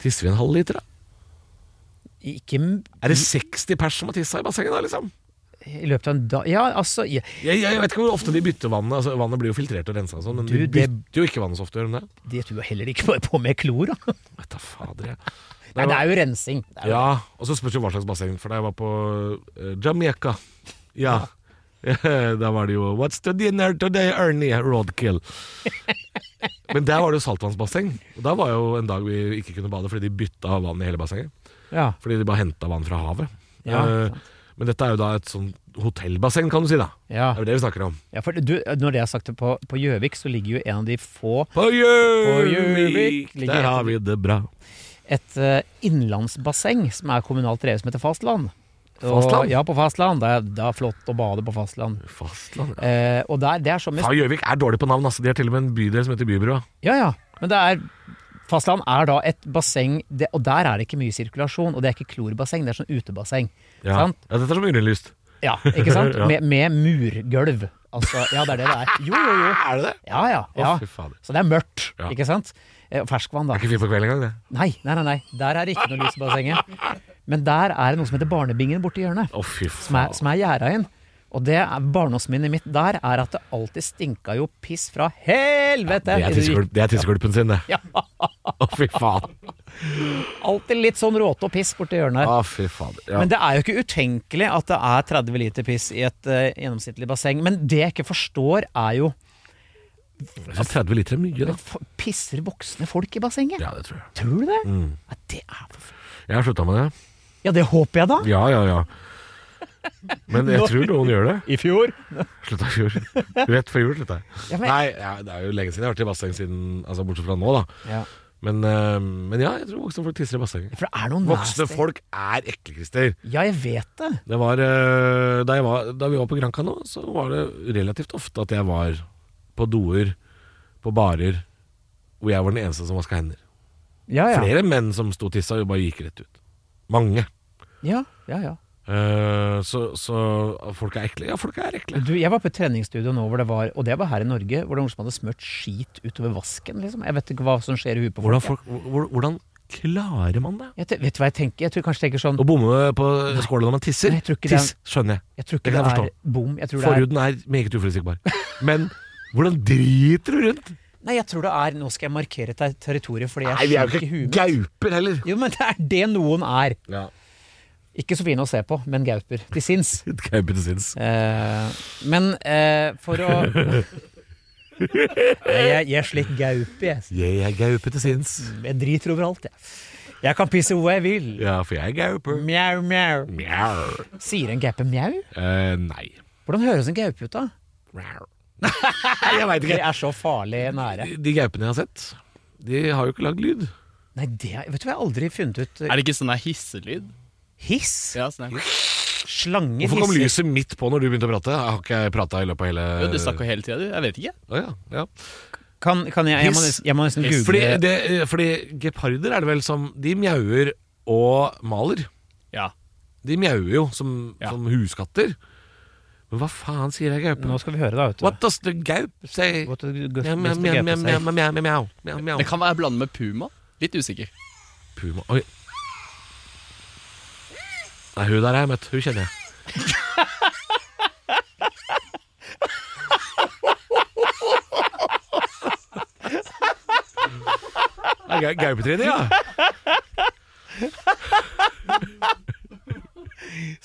A: Tisser i en halv liter, da?
B: Ikke m-
A: Er det 60 pers som har tissa i bassenget da, liksom?
B: i løpet av en dag Ja, altså ja.
A: Jeg, jeg vet ikke hvor ofte de bytter vannet. Altså, vannet blir jo filtrert og rensa og sånn, men
B: Du,
A: de
B: det-
A: bytter jo ikke vannet så ofte, gjør de det?
B: Det tror jeg heller ikke bare på med klor, da.
A: Vet da fader, jeg. Da
B: Nei,
A: jeg
B: det
A: var-
B: er jo rensing. Det er jo-
A: Ja, og så spørs det jo hva slags basseng, for da jeg var på eh, Jamaica Ja. da var det jo What's the dinner today, Ernie? Roadkill. Men der var det jo saltvannsbasseng. Og da var jo en dag vi ikke kunne bade fordi de bytta vann i hele bassenget.
B: Ja.
A: Fordi de bare henta vann fra havet.
B: Ja,
A: Eh, men dette er jo da et sånn hotellbasseng, kan du si. da
B: Ja.
A: Det er jo det vi snakker om.
B: ja, for du, når det er sagt, på på Gjøvik så ligger jo en av de få
A: På
B: Gjøvik
A: Gjøvik,
B: ligger
A: der har
B: et-
A: vi det bra.
B: et eh, innlandsbasseng som er kommunalt drevet som heter Fastland. Og-
A: Fastland?
B: Ja, på fastland. Det er, det er flott å bade på fastland.
A: Fastland, ja.
B: Eh, og der, det er som
A: Faen, Gjøvik er dårlig på navn. Altså. De har til og med en bydel som heter Bybrua.
B: Ja, ja. Men det er Fastland er da et basseng, det, og der er det ikke mye sirkulasjon. Og det er ikke klorbasseng, det er sånn utebasseng.
A: Ja.
B: Sant?
A: ja, Dette er som urinlyst.
B: Ja, ikke sant?
A: Ja.
B: Med, med murgulv. Altså, ja, det er det det er. Jo, jo, jo.
A: Er det det?
B: Ja, ja.
A: Å,
B: ja.
A: fy fader.
B: Så det er mørkt,
A: Ja.
B: ikke sant? Eh, Ferskvann, da.
A: Det er ikke fint på kvelden engang, det.
B: Nei, nei, nei, nei. Der er det ikke noe lys i bassenget. Men der er det noe som heter Barnebingen borti hjørnet,
A: Å, fy
B: som er,
A: faen.
B: som er gjerda inn. Og det er barndomsminnet mitt der er at det alltid stinka jo piss fra helvete!
A: Det er tissekul- det er tissekulpen sin, det.
B: Ja,
A: Å, fy faen.
B: alltid litt sånn råte og piss borti hjørnet her.
A: Å, fy fader. Ah, Ja.
B: Men det er jo ikke utenkelig at det er 30 liter piss i et eh, gjennomsnittlig basseng. Men det jeg ikke forstår, er jo
A: Jeg synes 30 liter er sånn mye, da.
B: f- Pisser voksne folk i bassenget?
A: Ja, Mm. det tror jeg.
B: Tror du det? Ja, det er for... f-
A: Jeg har slutta med det.
B: ja, det håper jeg da.
A: Ja, ja, ja. Men jeg tror noen gjør det.
B: I fjor?
A: Slutta i fjor. Rett før jul slutta jeg.
B: Ja, men-
A: Nei, ja, det er jo lenge siden jeg har vært i basseng siden Altså bortsett fra nå, da.
B: Ja.
A: Men, eh, men ja, jeg tror voksne folk tisser i bassenget.
B: For det er noen
A: Voksne
B: nasty-
A: folk er ekle, Christer.
B: Ja, jeg vet det.
A: Det var, eh, da, jeg var, da vi var på Granca nå, så var det relativt ofte at jeg var på doer, på barer, hvor jeg var den eneste som vaska hender.
B: Ja, ja.
A: Flere menn som sto og tissa, jo bare gikk rett ut. Mange.
B: Ja, ja, ja.
A: Eh, så, så folk er ekle. Ja, folk er ekle.
B: Du, jeg var på et treningsstudio nå hvor det var Og det var her i Norge, hvor det var noen som hadde smurt skit utover vasken, liksom. Jeg vet ikke hva som skjer i huet på folk.
A: Hvordan, folk, hvor- hvordan klarer man det?
B: Jeg, te- vet du hva jeg tenker? Jeg tror kanskje jeg tenker sånn
A: Å bomme på skåla når man tisser?
B: Nei, jeg tror ikke det er-
A: Tiss, skjønner jeg.
B: Jeg
A: Det
B: tror ikke
A: kan
B: det,
A: jeg
B: er bom. Jeg tror det er
A: Forhuden er meget uforutsigbar. Men hvordan driter du rundt?
B: Nei, jeg tror det er Nå skal jeg markere ter territoriet, fordi jeg
A: Nei, vi er jo
B: skjønner ikke
A: ikke
B: huet. mitt.
A: gauper heller.
B: Jo, men det er det noen er.
A: Ja.
B: Ikke så fine å se på, men gauper til sinns.
A: Gauper til sinns.
B: Eh, men eh, for å Nei, jeg, jeg er slik gaupe, jeg.
A: Jeg er gaupe til sinns.
B: Jeg driter overalt, jeg. Jeg kan pisse hvor jeg vil.
A: Ja, for jeg er gauper.
B: Mjau, mjau.
A: Mjau.
B: Sier en gaupe mjau?
A: Eh, nei.
B: Hvordan høres en gaupe ut, da?
A: Mjau. Nei, jeg veit
B: De
A: ikke.
B: er så farlig nære.
A: De gaupene jeg har sett, de har jo ikke lagd lyd.
B: Nei, det er, vet du hva jeg har aldri funnet ut? eh,
D: Er det ikke sånn der hisselyd?
B: Hiss?
D: Ja, sånn der.
B: Slanger
A: Hvorfor kom lyset
B: hisser.
A: midt på når du begynte å prate? Jeg har ikke prata i løpet av hele
D: Jo, du snakker hele tida, du. Jeg vet ikke.
A: Å, ja, ja.
B: Kan, kan jeg, jeg, må,
A: Hiss.
B: nesten- jeg må nesten google
A: Fordi, det, eh, fordi geparder er det vel som De mjauer og maler.
D: Ja.
A: De mjauer jo som,
D: Ja.
A: som huskatter. Men hva faen sier ei gaupe?
B: Nå skal vi høre, da. vet du.
A: What does the gaup say?
B: What the gus-
A: Mjau, mjau,
B: must the
A: mjau,
B: gaupe
A: mjau,
B: say?
A: mjau, mjau, mjau, mjau, mjau.
D: Det kan være blanda med puma. Litt usikker.
A: Puma Oi. Nei, hun der har jeg møtt. Hun kjenner jeg. Det er gau- Gaupetrine, ja.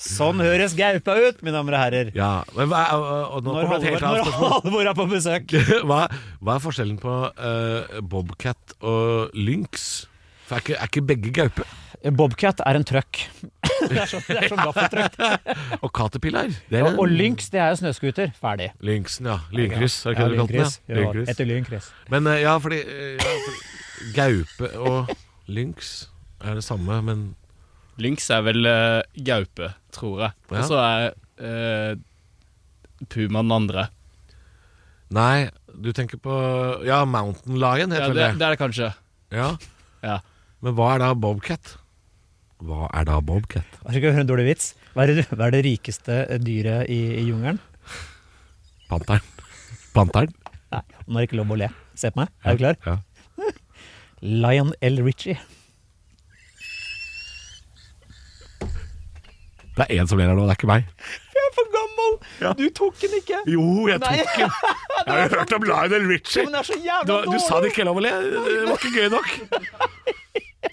B: Sånn høres gaupa ut, mine damer og herrer.
A: ja. Men hva er, og- og nå
B: Når
A: kommer det et helt
B: Halvor
A: annet
B: når
A: spørsmål.
B: Halvor er på besøk.
A: Hva, hva er forskjellen på eh, Bobcat og Lynx? For er ikke, er ikke begge gaupe?
B: Bobcat er en trøkk. det er sånn, det er sånn gaffeltrøkk.
A: Og caterpillar? Det er
B: Og, og lynx, det er jo snøscooter. Ferdig.
A: Lynxen, ja. Lynkryss, er det ikke
B: Ja,
A: det du kalte
B: lynkryss.
A: den? Ja?
B: Ja,
A: Lynkryss.
B: Etter lynkryss.
A: Men eh, ja, fordi, eh, ja, fordi Gaupe og lynx er det samme, men
D: Lynx er vel eh, gaupe, tror jeg.
A: Ja.
D: Og så er eh, puma den andre.
A: Nei, du tenker på Ja, Mountain Lion
D: Ja,
A: heter
D: det,
A: vel det.
D: det er det kanskje.
A: Ja.
D: Ja.
A: Men hva er da Bobcat? Hva er da Bobcat?
B: Jeg skal høre en dårlig vits. Hva er det, hva er det rikeste dyret i, i jungelen?
A: Panteren. Panteren?
B: Nei, nå er det ikke lov å le. Se på meg. Er du klar?
A: Ja.
B: Lion L. Richie.
A: Det er én som ler her nå, det er ikke meg.
B: Jeg er for gammel! Du tok den ikke!
A: Jo, jeg
B: Nei.
A: tok den! Jeg har jo hørt om Lionel Richie.
B: er så
A: Du,
B: jævla
A: du sa det ikke er lov å le. Det var ikke gøy nok.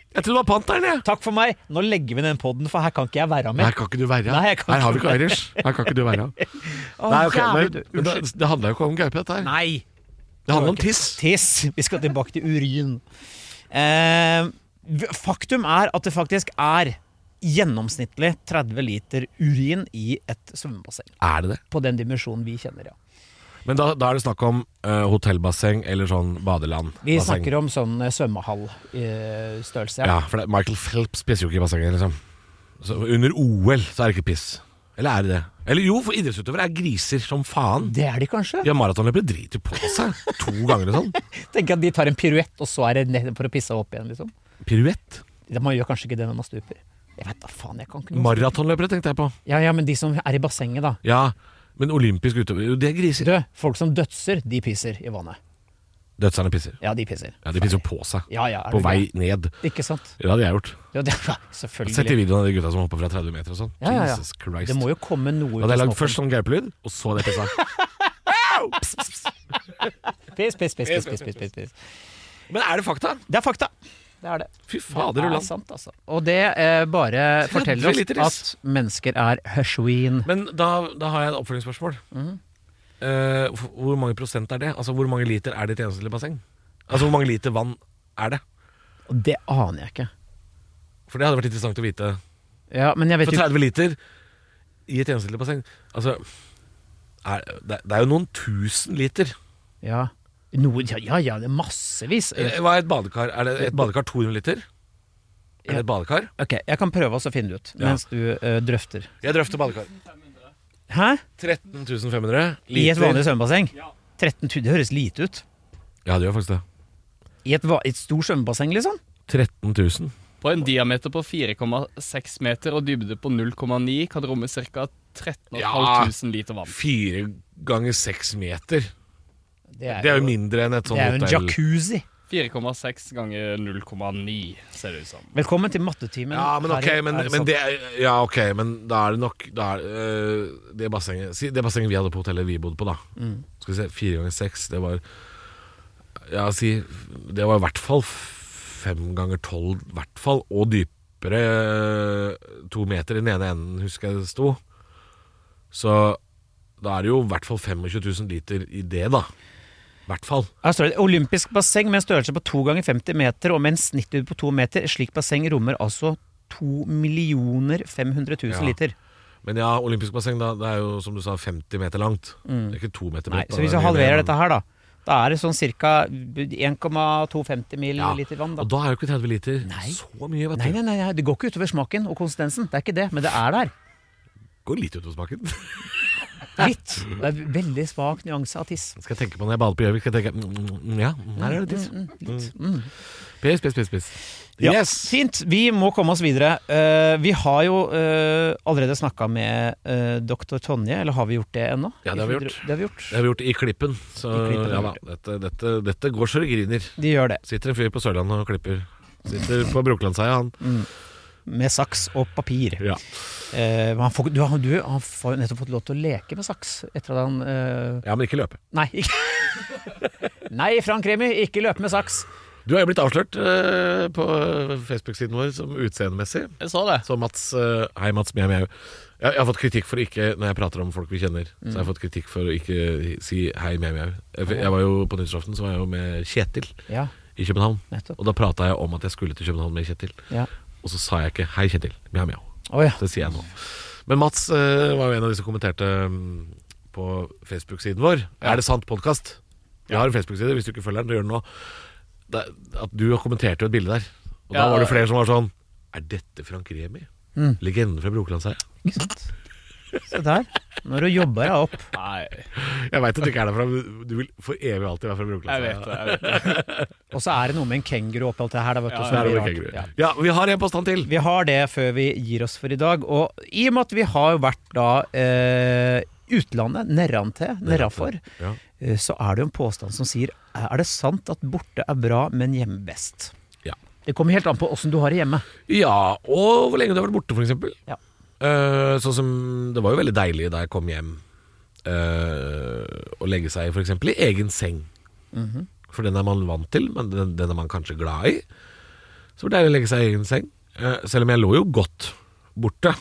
A: Jeg trodde det var Panteren, jeg.
B: Takk for meg. Nå legger vi den podden, for her kan ikke jeg være
A: Her
B: med.
A: kan ikke du være.
B: Nei, jeg kan
A: her har vi
B: ikke
A: ikke Irish. Her kan ikke du være.
B: Å,
A: Nei, ok,
B: jævlig,
A: men,
B: du.
A: men det, det handla jo ikke om gaupe, dette her.
B: Nei!
A: Det handla om tiss.
B: Tiss. Vi skal tilbake til urin. Eh, v- faktum er at det faktisk er gjennomsnittlig 30 liter urin i et svømmebasseng.
A: Er det det?
B: På den dimensjonen vi kjenner, ja.
A: Men da, da er det snakk om eh, hotellbasseng eller sånn badeland.
B: Vi snakker om sånn eh, svømmehallstørrelse.
A: Ja, for det, Michael Phelps pisser jo ikke i bassenget, liksom. Så under OL så er det ikke piss. Eller er det det? Eller jo, for idrettsutøvere er griser som faen.
B: Det er de kanskje?
A: De har maratonløpere driter jo på seg to ganger og sånn.
B: Tenk at de tar en piruett, og så er det ned for å pisse opp igjen, liksom.
A: Piruett.
B: Ja, Man gjør kanskje ikke det når man stuper. Jeg vet da faen, jeg kan ikke noe
A: Maratonløpere tenkte jeg på.
B: Ja, ja, men de som er i bassenget, da.
A: Ja, men olympisk utøver, jo, det er griser.
B: Du, folk som dødser, de pisser i vannet.
A: Dødserne pisser.
B: Ja, de pisser.
A: Ja, De pisser jo på seg.
B: Ja, ja, er
A: på
B: du
A: vei ned.
B: gæren? Ikke sant?
A: Det hadde jeg gjort.
B: Ja, det,
A: Jeg har sett de
B: selvfølgelig.
A: videoene av de gutta som hopper fra 30 meter og sånn.
B: Ja, ja, ja.
A: Jesus Christ.
B: Det må jo komme noe ut
A: Da hadde jeg
B: av
A: lagd først sånn gaupelyd, og så hadde jeg pissa.
B: snoppen. Piss, piss, piss, piss, piss, piss, piss, piss.
A: Men er det fakta?
B: Det er fakta. Det er det.
A: Fy fader,
B: det
A: du
B: er
A: land.
B: sant, altså. Og det eh, bare forteller oss
A: liter is.
B: at mennesker er hersvin.
A: Men da, da har jeg et oppfølgingsspørsmål.
B: Mhm.
A: Eh, hvor- hvor mange prosent er det? Altså Hvor mange liter er det i et eneste basseng? Altså Hvor mange liter vann er det?
B: Og det aner jeg ikke.
A: For det hadde vært interessant å vite.
B: Ja, men jeg
A: For
B: vet jo
A: 30 liter i et eneste basseng Altså er, det, det er jo noen tusen liter.
B: ja. Noe, ja, ja, ja, det er massevis.
A: Eh, Hva er et badekar? Er det et badekar 200 liter? Er det et badekar?
B: Ok, jeg kan prøve oss å finne det ut
A: Ja.
B: mens du eh, drøfter.
A: Jeg drøfter badekar.
B: Hæ?
A: 13 500
B: I et vanlig
A: liter.
B: svømmebasseng? 13 000, det høres lite ut.
A: Ja, det gjør faktisk det.
B: I et, va- et stort svømmebasseng, liksom?
A: 13 000.
D: På en diameter på 4,6 meter og dybde på 0,9 kan romme ca. 13
A: Ja.
D: 500 liter vann.
A: Fire ganger seks meter. Det er jo mindre enn et sånt
B: det er jo en
A: hotell.
B: jacuzzi.
D: 4,6 ganger 0,9 ser det ut som.
B: Velkommen til mattetimen.
A: Ja, men
B: her
A: ok,
B: i-
A: men,
B: er det
A: men
B: sant?
A: det er- Ja, ok, men da er det nok da er, øh, Det bassenget si, Det bassenget vi hadde på hotellet vi bodde på, da.
B: Mm.
A: Skal vi se, fire ganger seks, det var Ja, si Det var i hvert fall f- fem ganger tolv, i hvert fall. Og dypere øh, to meter i den ene enden, husker jeg det sto. Så da er det jo i hvert fall 25 000 liter i det, da. I hvert fall.
B: Her står det olympisk basseng med en størrelse på 2 ganger 50 meter og med en snittdybde på 2 meter. Slik basseng rommer altså 2 millioner 500 000
A: Ja.
B: liter.
A: Men ja, olympisk basseng da, det er jo som du sa 50 meter langt. Det er ikke to meter
B: Mm. Nei,
A: bredt. da,
B: så hvis
A: det er
B: vi
A: mye mer,
B: halverer
A: men-
B: dette her, da. Da er det sånn ca. 1,250
A: Ja,
B: milliliter vann. Da.
A: Og da er jo ikke 30 liter
B: Nei.
A: så mye, vet du.
B: Nei, nei, nei, nei, det går ikke utover smaken og konsistensen. Det er ikke det, men det er der.
A: Går litt utover smaken.
B: Litt. Det er veldig svak nyanse av tiss.
A: Skal jeg tenke på når jeg bader på Gjøvik, skal jeg tenke mm, mm, Ja, her er det tiss. Mm. Piss, piss, piss, piss.
B: Ja,
A: Yes!
B: Fint. Vi må komme oss videre. Eh, vi har jo eh, allerede snakka med eh, doktor Tonje, eller har vi gjort det ennå?
A: Ja, det har vi gjort.
B: Det har vi gjort.
A: Det har vi gjort i klippen. Så
B: I klippen,
A: ja
B: ja.
A: da, dette, dette, dette går så det griner.
B: De gjør det.
A: Sitter en fyr på Sørlandet og klipper. Sitter på Brokelandsheia, han.
B: Mm. Med saks og papir.
A: Ja.
B: Eh, men han får, du, han, du, han får jo nettopp fått lov til å leke med saks etter at han eh,
A: ja, men ikke løpe.
B: Nei, ikke Nei, Frank Remi, ikke løpe med saks!
A: Du er jo blitt avslørt eh, på Facebook-siden vår som utseendemessig.
D: Jeg så det.
A: Så Mats eh, Hei, Mats Mjau Mjau. Jeg, jeg har fått kritikk for å ikke Når jeg prater om folk vi kjenner, så har jeg fått kritikk for å ikke si hei, mjau, mjau. Jeg, jeg var jo på nyttårsaften Så var jeg jo med Kjetil
B: Ja,
A: i København.
B: nettopp.
A: Og da prata jeg om at jeg skulle til København med Kjetil.
B: Ja.
A: Og så sa jeg ikke hei, Kjetil. Mjau, mjau.
B: Å ja.
A: Det sier jeg nå. Men Mats eh, var jo en av de som kommenterte mm, på Facebook-siden vår. Er det sant podkast? Jeg har en Facebook-side, hvis du ikke følger den, så gjør den nå. Det, at du kommenterte jo et bilde der. Og da
D: Ja. Mm.
A: var det flere som var sånn Er dette Frank Remi? Legenden fra Brokelandsheia?
B: Ikke sant. Se der. Når du jobber deg opp.
D: Nei,
A: Jeg veit at du ikke er derfra, men du vil for evig alltid være fra
D: jeg vet
A: Brokelandsheia.
D: det. jeg vet det
B: Og så er det noe med en kenguru oppi alt det her. Da, vet du,
D: Ja,
B: som
A: Der er det
B: blir rart.
A: kenguru.
B: Ja.
A: Ja, vi har en påstand til.
B: Vi har det før vi gir oss for i dag. Og i og med at vi har jo vært da eh, utlandet, nedantil, nedafor,
A: Ja.
B: eh, så er det jo en påstand som sier Er det sant at borte er bra, men hjemme best?
A: Ja.
B: Det kommer helt an på åssen du har det hjemme.
A: Ja, og hvor lenge du har vært borte, for eksempel.
B: Ja.
A: Eh, sånn som Det var jo veldig deilig da jeg kom hjem eh, å legge seg for eksempel i egen seng. For den er man vant til, men den, den er man kanskje glad i. Så var det deilig å legge seg i egen seng. Eh, selv om jeg lå jo godt borte.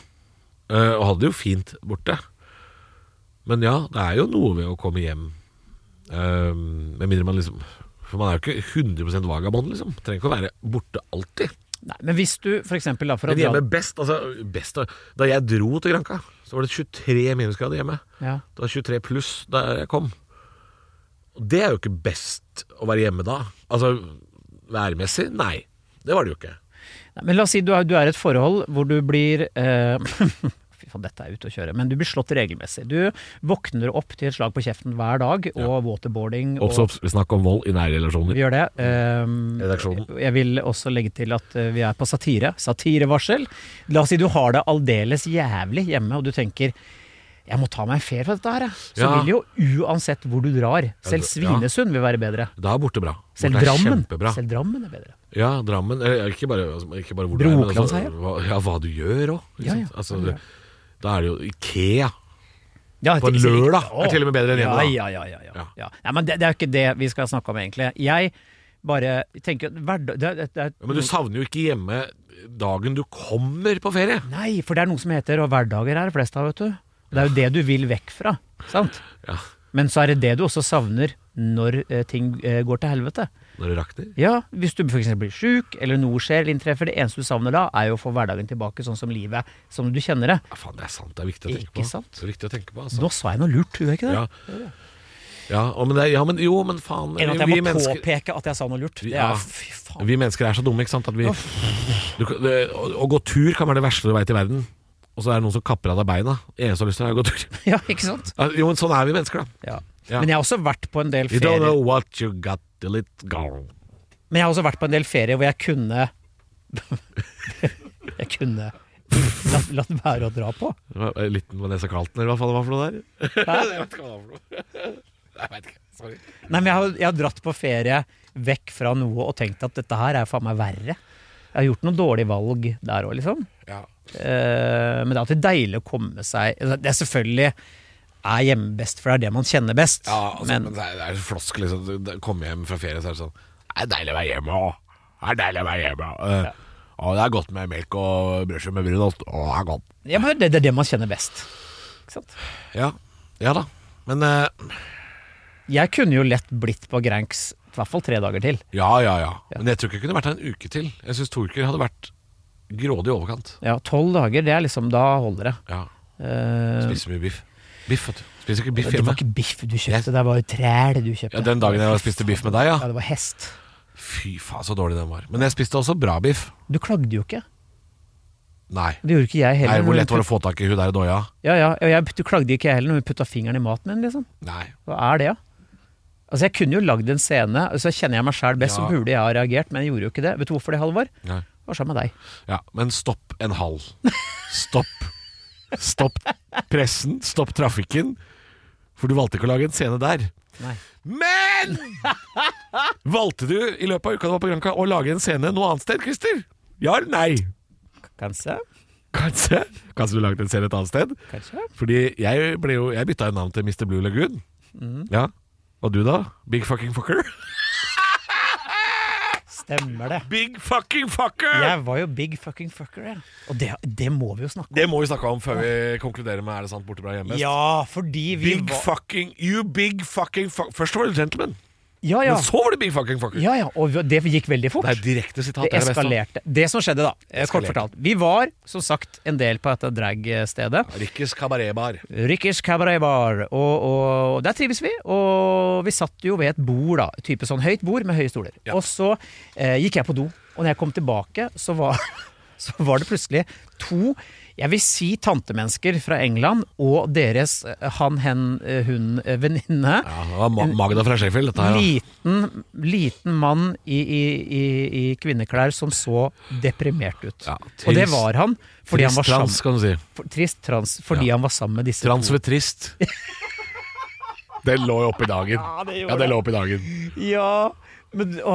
A: eh, og hadde det jo fint borte. Men ja, det er jo noe ved å komme hjem. Eh, med mindre man liksom For man er jo ikke 100 vagabond, liksom. Trenger ikke å være borte alltid.
B: Nei, men hvis du f.eks. da for å
A: Men
B: dra
A: hjemme best, altså best da- Da jeg dro til Granka Så var det 23 minusgrader hjemme
B: ja.
A: Det var 23 pluss da jeg kom Og det er jo ikke best Å være hjemme da Altså værmessig, nei Det var det jo ikke
B: Nei, Men la oss si du er, du er i et forhold hvor du blir eh, fy faen, dette er ute å kjøre. Men du blir slått regelmessig. Du våkner opp til et slag på kjeften hver dag, og waterboarding og
A: Obs, obs. Vi snakker om vold i nære
B: Vi
A: relasjoner.
B: gjør det. Ehm,
A: Redaksjonen.
B: jeg vil også legge til at eh, vi er på satire. Satirevarsel. La oss si du har det aldeles jævlig hjemme, og du tenker jeg må ta meg en fer for dette her, jeg. Så
A: Ja.
B: vil jo uansett hvor du drar, selv
A: Ja.
B: Svinesund vil være bedre.
A: Da er borte bra.
B: Selv
A: Borte er
B: Drammen.
A: Kjempebra.
B: Selv Drammen er bedre.
A: Ja, Drammen. eh, Ikke bare, altså, ikke bare hvor du er, men altså,
B: Brokelandsheia.
A: hva, ja, hva du gjør òg.
B: Ja, ja.
A: altså,
B: Ja.
A: da er det jo Ikea.
B: Ja,
A: På en
B: ikke så riktig.
A: lørdag er
B: Å.
A: til og med bedre enn hjemme, da.
B: Ja, ja, ja, ja, ja.
A: Ja.
B: ja. Nei, men det, det er jo ikke det vi skal snakke om, egentlig. Jeg bare tenker at hverdag... Det, er- det, det er
A: Ja, Men du savner jo ikke hjemme dagen du kommer på ferie.
B: Nei, for det er noe som heter Og hverdager er det flest av, vet du. Det er jo det du vil vekk fra, sant?
A: Ja.
B: Men så er det det du også savner når eh, ting eh, går til helvete.
A: Når det rakner.
B: Ja, hvis du f.eks. blir sjuk, eller noe skjer eller inntreffer, det eneste du savner da, er jo å få hverdagen tilbake sånn som livet, som du kjenner det.
A: Ja, faen, det er sant. Det er viktig å tenke
B: Ikke
A: på.
B: sant?
A: Det er viktig å tenke på, altså.
B: Nå sa jeg noe lurt, gjorde jeg ikke det?
A: Ja. Ja, og men det, er- ja, men jo, men faen.
B: Enn at jeg må
A: mennesker-
B: påpeke at jeg sa noe lurt. Det
A: Ja.
B: er fy faen.
A: Vi mennesker er så dumme, ikke sant? At vi, du, kan- det, å, å gå tur kan være det verste du veit i verden. Og så er det noen som kapper av deg beina. Eneste du har lyst til, er å gå tur.
B: Ja, ikke sant?
A: Ja, Jo, men sånn er vi mennesker, da.
B: Ja.
A: Ja.
B: Men jeg har også vært på en del
A: You don't know
B: ferier
A: what you got till it gone.
B: Men jeg har også vært på en del ferier hvor jeg kunne Jeg kunne latt, latt være å dra på.
A: Det var- eh, Liten Vanessa Carlton, eller hva faen det var for noe der?
B: Hæ? Nei, men jeg har, jeg har dratt på ferie vekk fra noe og tenkt at dette her er faen meg verre. Jeg har gjort noen dårlige valg der òg, liksom.
A: Ja.
B: Eh, men det er alltid deilig å komme seg altså, Det er selvfølgelig er hjemme best, for det er det man kjenner best.
A: Ja, altså, men,
B: men
A: det er- det er en floskel. Liksom. Du- du Kommer hjem fra ferie, så er det sånn Det er deilig å være hjemme òg. Det er deilig å være hjemme. Uh, Og det er godt med melk og brødskive med brunost. Å, det er godt.
B: ja, men det, det er det man kjenner best. Ikke sant?
A: Ja, ja da. Men eh,
B: Jeg kunne jo lett blitt på Granks i hvert fall tre dager til.
A: ja, ja, ja. Men jeg tror ikke jeg kunne vært her en uke til. Jeg syns to uker hadde vært grådig i overkant.
B: Ja, Tolv dager, det er liksom Da holder det.
A: Ja.
B: Eh,
A: Spiser mye biff. Biff, vet du. Spiser ikke biff
B: det var
A: hjemme.
B: ikke biff du kjøpte, det var jo træl du kjøpte.
A: Ja, den dagen jeg spiste biff med deg,
B: Ja,
A: ja.
B: det var hest.
A: Fy faen, så dårlig den var. Men jeg spiste også bra biff.
B: Du klagde jo ikke.
A: Nei.
B: Det gjorde ikke jeg heller.
A: Nei,
B: når
A: hvor
B: hun
A: lett var det
B: putt-
A: å få tak i hun der i doia?
B: Ja, ja, og jeg, Du klagde ikke jeg heller når hun putta fingeren i maten min, liksom.
A: Nei.
B: Hva er det, da? Altså, jeg kunne jo lagd en scene, så kjenner jeg meg sjæl best,
A: Ja.
B: så burde jeg ha reagert, men jeg gjorde jo ikke det. Vet du hvorfor det, Halvor? Det
A: Nei.
B: var sammen med deg.
A: Ja, men stopp en hall. Stopp. Stopp pressen, stopp trafikken. For du valgte ikke å lage en scene der.
B: Nei.
A: Men valgte du i løpet av uka du var på Granca å lage en scene noe annet sted, Christer? Ja eller nei?
B: Kanskje?
A: Kanskje. Kanskje du lagde en scene et annet sted?
B: Kanskje?
A: Fordi jeg, ble jo, jeg bytta jo navn til Mr. Blue Lagoon.
B: Mm.
A: Ja. Og du, da? Big fucking fucker?
B: Stemmer det.
A: Big fucking fucker!
B: Jeg var jo big fucking fucker, jeg. Og det, det må vi jo snakke om.
A: Det må vi snakke om før vi konkluderer med er det sant borte bra hjemme.
B: Ja, fordi vi
A: Big
B: var
A: fucking You big fucking fuck Først var det gentleman,
B: Ja, ja.
A: men så var det big fucking fucker.
B: ja, ja. Og vi- det gikk veldig fort.
A: Det er direkte sitat.
B: Det
A: er beste.
B: eskalerte. Det som skjedde, da, eh, kort
A: Eskalerte.
B: fortalt Vi var som sagt en del på dette dragstedet.
A: Rikkes kabaretbar.
B: Rikkers Cabaret Bar. Og, og der trives vi. Og vi satt jo ved et bord, da. Type sånn høyt bord med høye stoler.
A: Ja.
B: Og så eh, gikk jeg på do. Og når jeg kom tilbake, så var, så var det plutselig to jeg vil si tantemennesker fra England og deres eh, han, hen, eh, hun, eh, venninne.
A: Ja, det var Ma Magda fra Sheffield, dette her. da.
B: Liten, liten mann i, i, i, i kvinneklær som så deprimert ut.
A: Ja,
B: og det
A: trist-
B: var han fordi han var
A: Trist trans, kan
B: sammen,
A: du si.
B: for- trist trans fordi
A: Ja.
B: han var sammen med disse
A: Trans ved trist. Den lå jo oppi dagen. Ja, det, lå oppi dagen.
B: Ja, men å,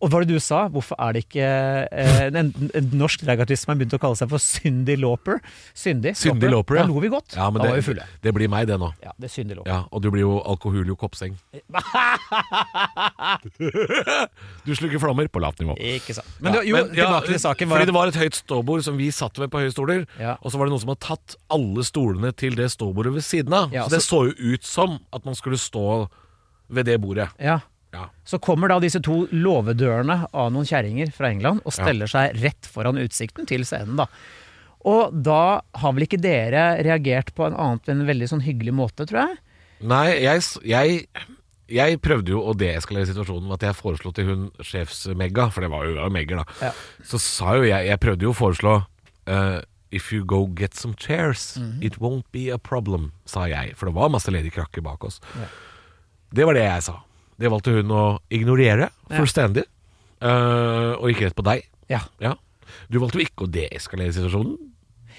B: Og hva var det du sa? Hvorfor er det ikke eh, en, en, en norsk dragartist som har begynt å kalle seg for Syndy Lauper? Syndy,
A: Syndig låper, ja.
B: Da lo vi godt.
A: Ja, men
B: da var vi
A: det,
B: fulle.
A: det blir meg, det nå.
B: Ja, det er Syndy Lauper.
A: Ja, Og du blir jo alkoholio koppseng. du sluker flammer på lavt nivå.
B: Ikke sant. Men
A: Ja,
B: det- jo,
A: men, ja,
B: tilbake til saken. Var
A: Fordi
B: at,
A: det var et høyt ståbord som vi satt ved på høye stoler,
B: Ja.
A: og så var det noen som hadde tatt alle stolene til det ståbordet ved siden av.
B: Ja,
A: så det så jo ut som at man skulle stå ved det bordet.
B: ja.
A: Ja.
B: Så kommer da disse to låvedørene av noen kjerringer fra England og steller seg rett foran utsikten til scenen, da. Og da har vel ikke dere reagert på en annet enn en veldig sånn hyggelig måte, tror jeg?
A: Nei, jeg, s- jeg, jeg prøvde jo å deeskalere situasjonen med at jeg foreslo til hun sjefsmegga, for det var jo det var jo megger, da.
B: Ja.
A: Så sa jo jeg Jeg prøvde jo å foreslå eh, If you go get some chairs,
B: Mhm.
A: it won't be a problem, sa jeg. For det var masse ledige krakker bak oss. Det var det jeg sa. Det valgte hun å ignorere fullstendig. eh, og gikk rett på deg.
B: Ja.
A: Ja. Du valgte jo ikke å deeskalere situasjonen.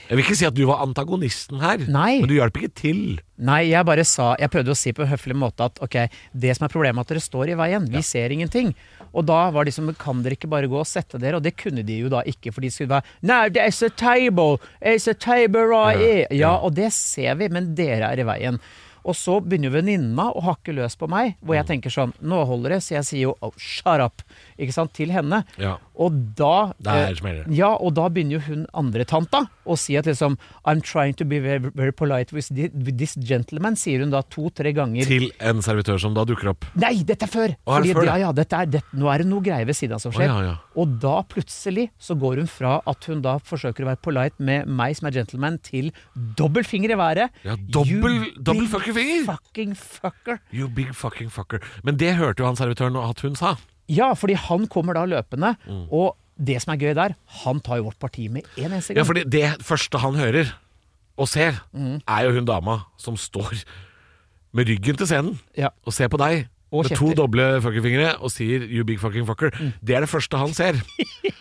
A: Jeg vil ikke si at du var antagonisten her,
B: Nei.
A: men du hjalp ikke til.
B: Nei, jeg bare sa Jeg prøvde å si på en høflig måte at ok, det som er problemet er at dere står i veien. Vi ser ingenting. Og da var de som Kan dere ikke bare gå og sette dere? Og det kunne de jo da ikke, for de skulle være Nei, there's a table! There's a table right here! Ja, og det ser vi, men dere er i veien. Og så begynner venninna å hakke løs på meg, hvor
A: Mm.
B: jeg tenker sånn Nå holder det, så jeg sier jo oh, shut up! Ikke sant? Til henne.
A: Ja.
B: Og da
A: Der
B: eh,
A: smeller det.
B: Ja, og da begynner jo hun andre tanta å si at liksom I'm trying to be very, very polite with thi- with this gentleman, sier hun da to-tre ganger.
A: Til en servitør som da dukker opp.
B: Nei, dette er før!
A: Å, er det før det?
B: ja, ja, dette er, det, nå er det noe greier ved siden av som
A: Å,
B: skjer.
A: ja, ja.
B: Og da plutselig så går hun fra at hun da forsøker å være polite med meg som er gentleman, til dobbel finger i været.
A: Ja, dobbel-
B: You
A: dobbel
B: big
A: fucking finger!
B: Fucking fucker!
A: You big fucking fucker. Men det hørte jo han servitøren at hun sa.
B: Ja, fordi han kommer da løpende,
A: Mm.
B: og det som er gøy der, han tar jo vårt parti med en eneste gang.
A: Ja, fordi det første han hører og ser,
B: Mhm.
A: er jo hun dama som står med ryggen til scenen
B: Ja.
A: og ser på deg
B: Og
A: med to
B: kjefter. Mm.
A: doble fuckingfingre og sier 'you big fucking fucker'. Det er det første han ser.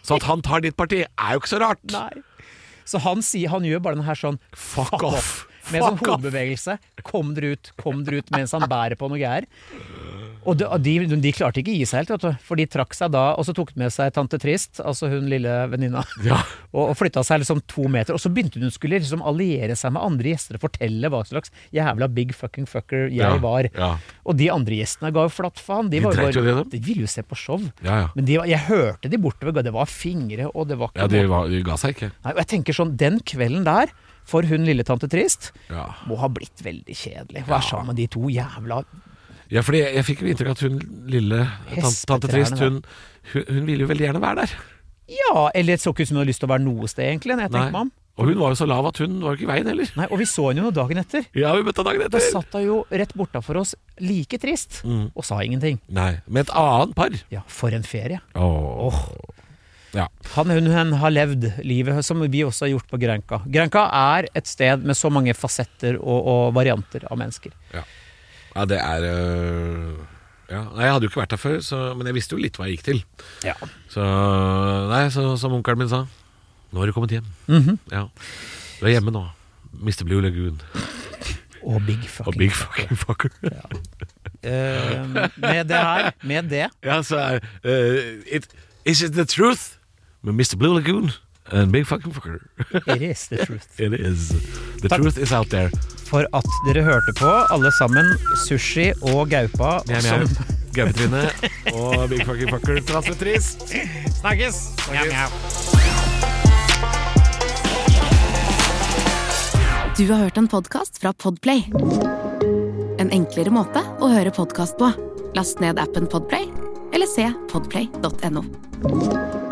A: Så at han tar ditt parti, er jo ikke så rart.
B: Nei. Så han, sier, han gjør bare den her sånn
A: Fuck
B: fuck off.
A: off.
B: Med en sånn
A: Fuck off.
B: hodebevegelse. Kom dere ut, kom dere ut, mens han bærer på noe greier. Og de, og de, de klarte ikke å gi seg helt, vet du. For de trakk seg da, og så tok de med seg tante Trist, altså hun lille venninna,
A: Ja.
B: og, og flytta seg liksom to meter. Og så begynte hun skulle liksom alliere seg med andre gjester og fortelle hva slags jævla big fucking fucker jeg
A: Ja,
B: var.
A: ja.
B: Og de andre gjestene ga jo flatt faen. De,
A: De
B: var jo
A: dreit jo i
B: bare,
A: det,
B: de ville jo se på show.
A: Ja, ja.
B: Men de, var- jeg hørte de bortover, det var fingre, og det var ikke
A: Ja, de,
B: måte
A: var, de ga seg ikke.
B: Nei, og jeg tenker sånn, Den kvelden der, for hun lille tante Trist,
A: Ja.
B: må ha blitt veldig kjedelig. Hva er sammen med de to jævla
A: Ja, fordi jeg, jeg fikk jo inntrykk av at hun lille tante, tante Trist, hun,
B: Hespetrærne,
A: hun, hun ville jo veldig gjerne være der.
B: Ja, eller så ikke ut som hun hadde lyst til å være noe sted, egentlig. når jeg tenker meg om.
A: Og hun var jo så lav at hun var jo ikke i veien heller.
B: Nei, Og vi så henne jo dagen etter.
A: Ja, vi møtte dagen
B: Da
A: etter.
B: satt hun jo rett bortafor oss, like trist,
A: Mm.
B: og sa ingenting.
A: Nei, med et annet par.
B: Ja, for en ferie.
A: Åh. Ja.
B: Han hun, hun har levd livet som vi også har gjort på Grenka. Grenka er et sted med så mange fasetter og, og varianter av mennesker.
A: ja, det er øh, ja. Nei, Jeg hadde jo ikke vært der før, så, men jeg visste jo litt hva jeg gikk til.
B: Ja.
A: Så nei, så, som onkelen min sa, nå har du kommet hjem. Ja. Du er hjemme nå. Mr. Blue Lagoon
B: Og big
A: og
B: fucking.
A: Big Fucking Fucker.
B: Eh, med det her, med det
A: Ja, så er øh, it, Is it the truth? Med Mr. Blue Lagoon and Big Fucking Fucker.
B: It is the truth.
A: It is. The
B: Takk.
A: truth is out there.
B: for at dere hørte på, alle sammen. Sushi og gaupa
A: Mjau, mjau. Gaupetrine og Big Fucking Fucker. Trass med tris.
B: Snakkes! Mjau, mjau.
E: Du har hørt en podcast fra Podplay. En enklere måte å høre podcast på. Last ned appen Podplay, eller se podplay.no.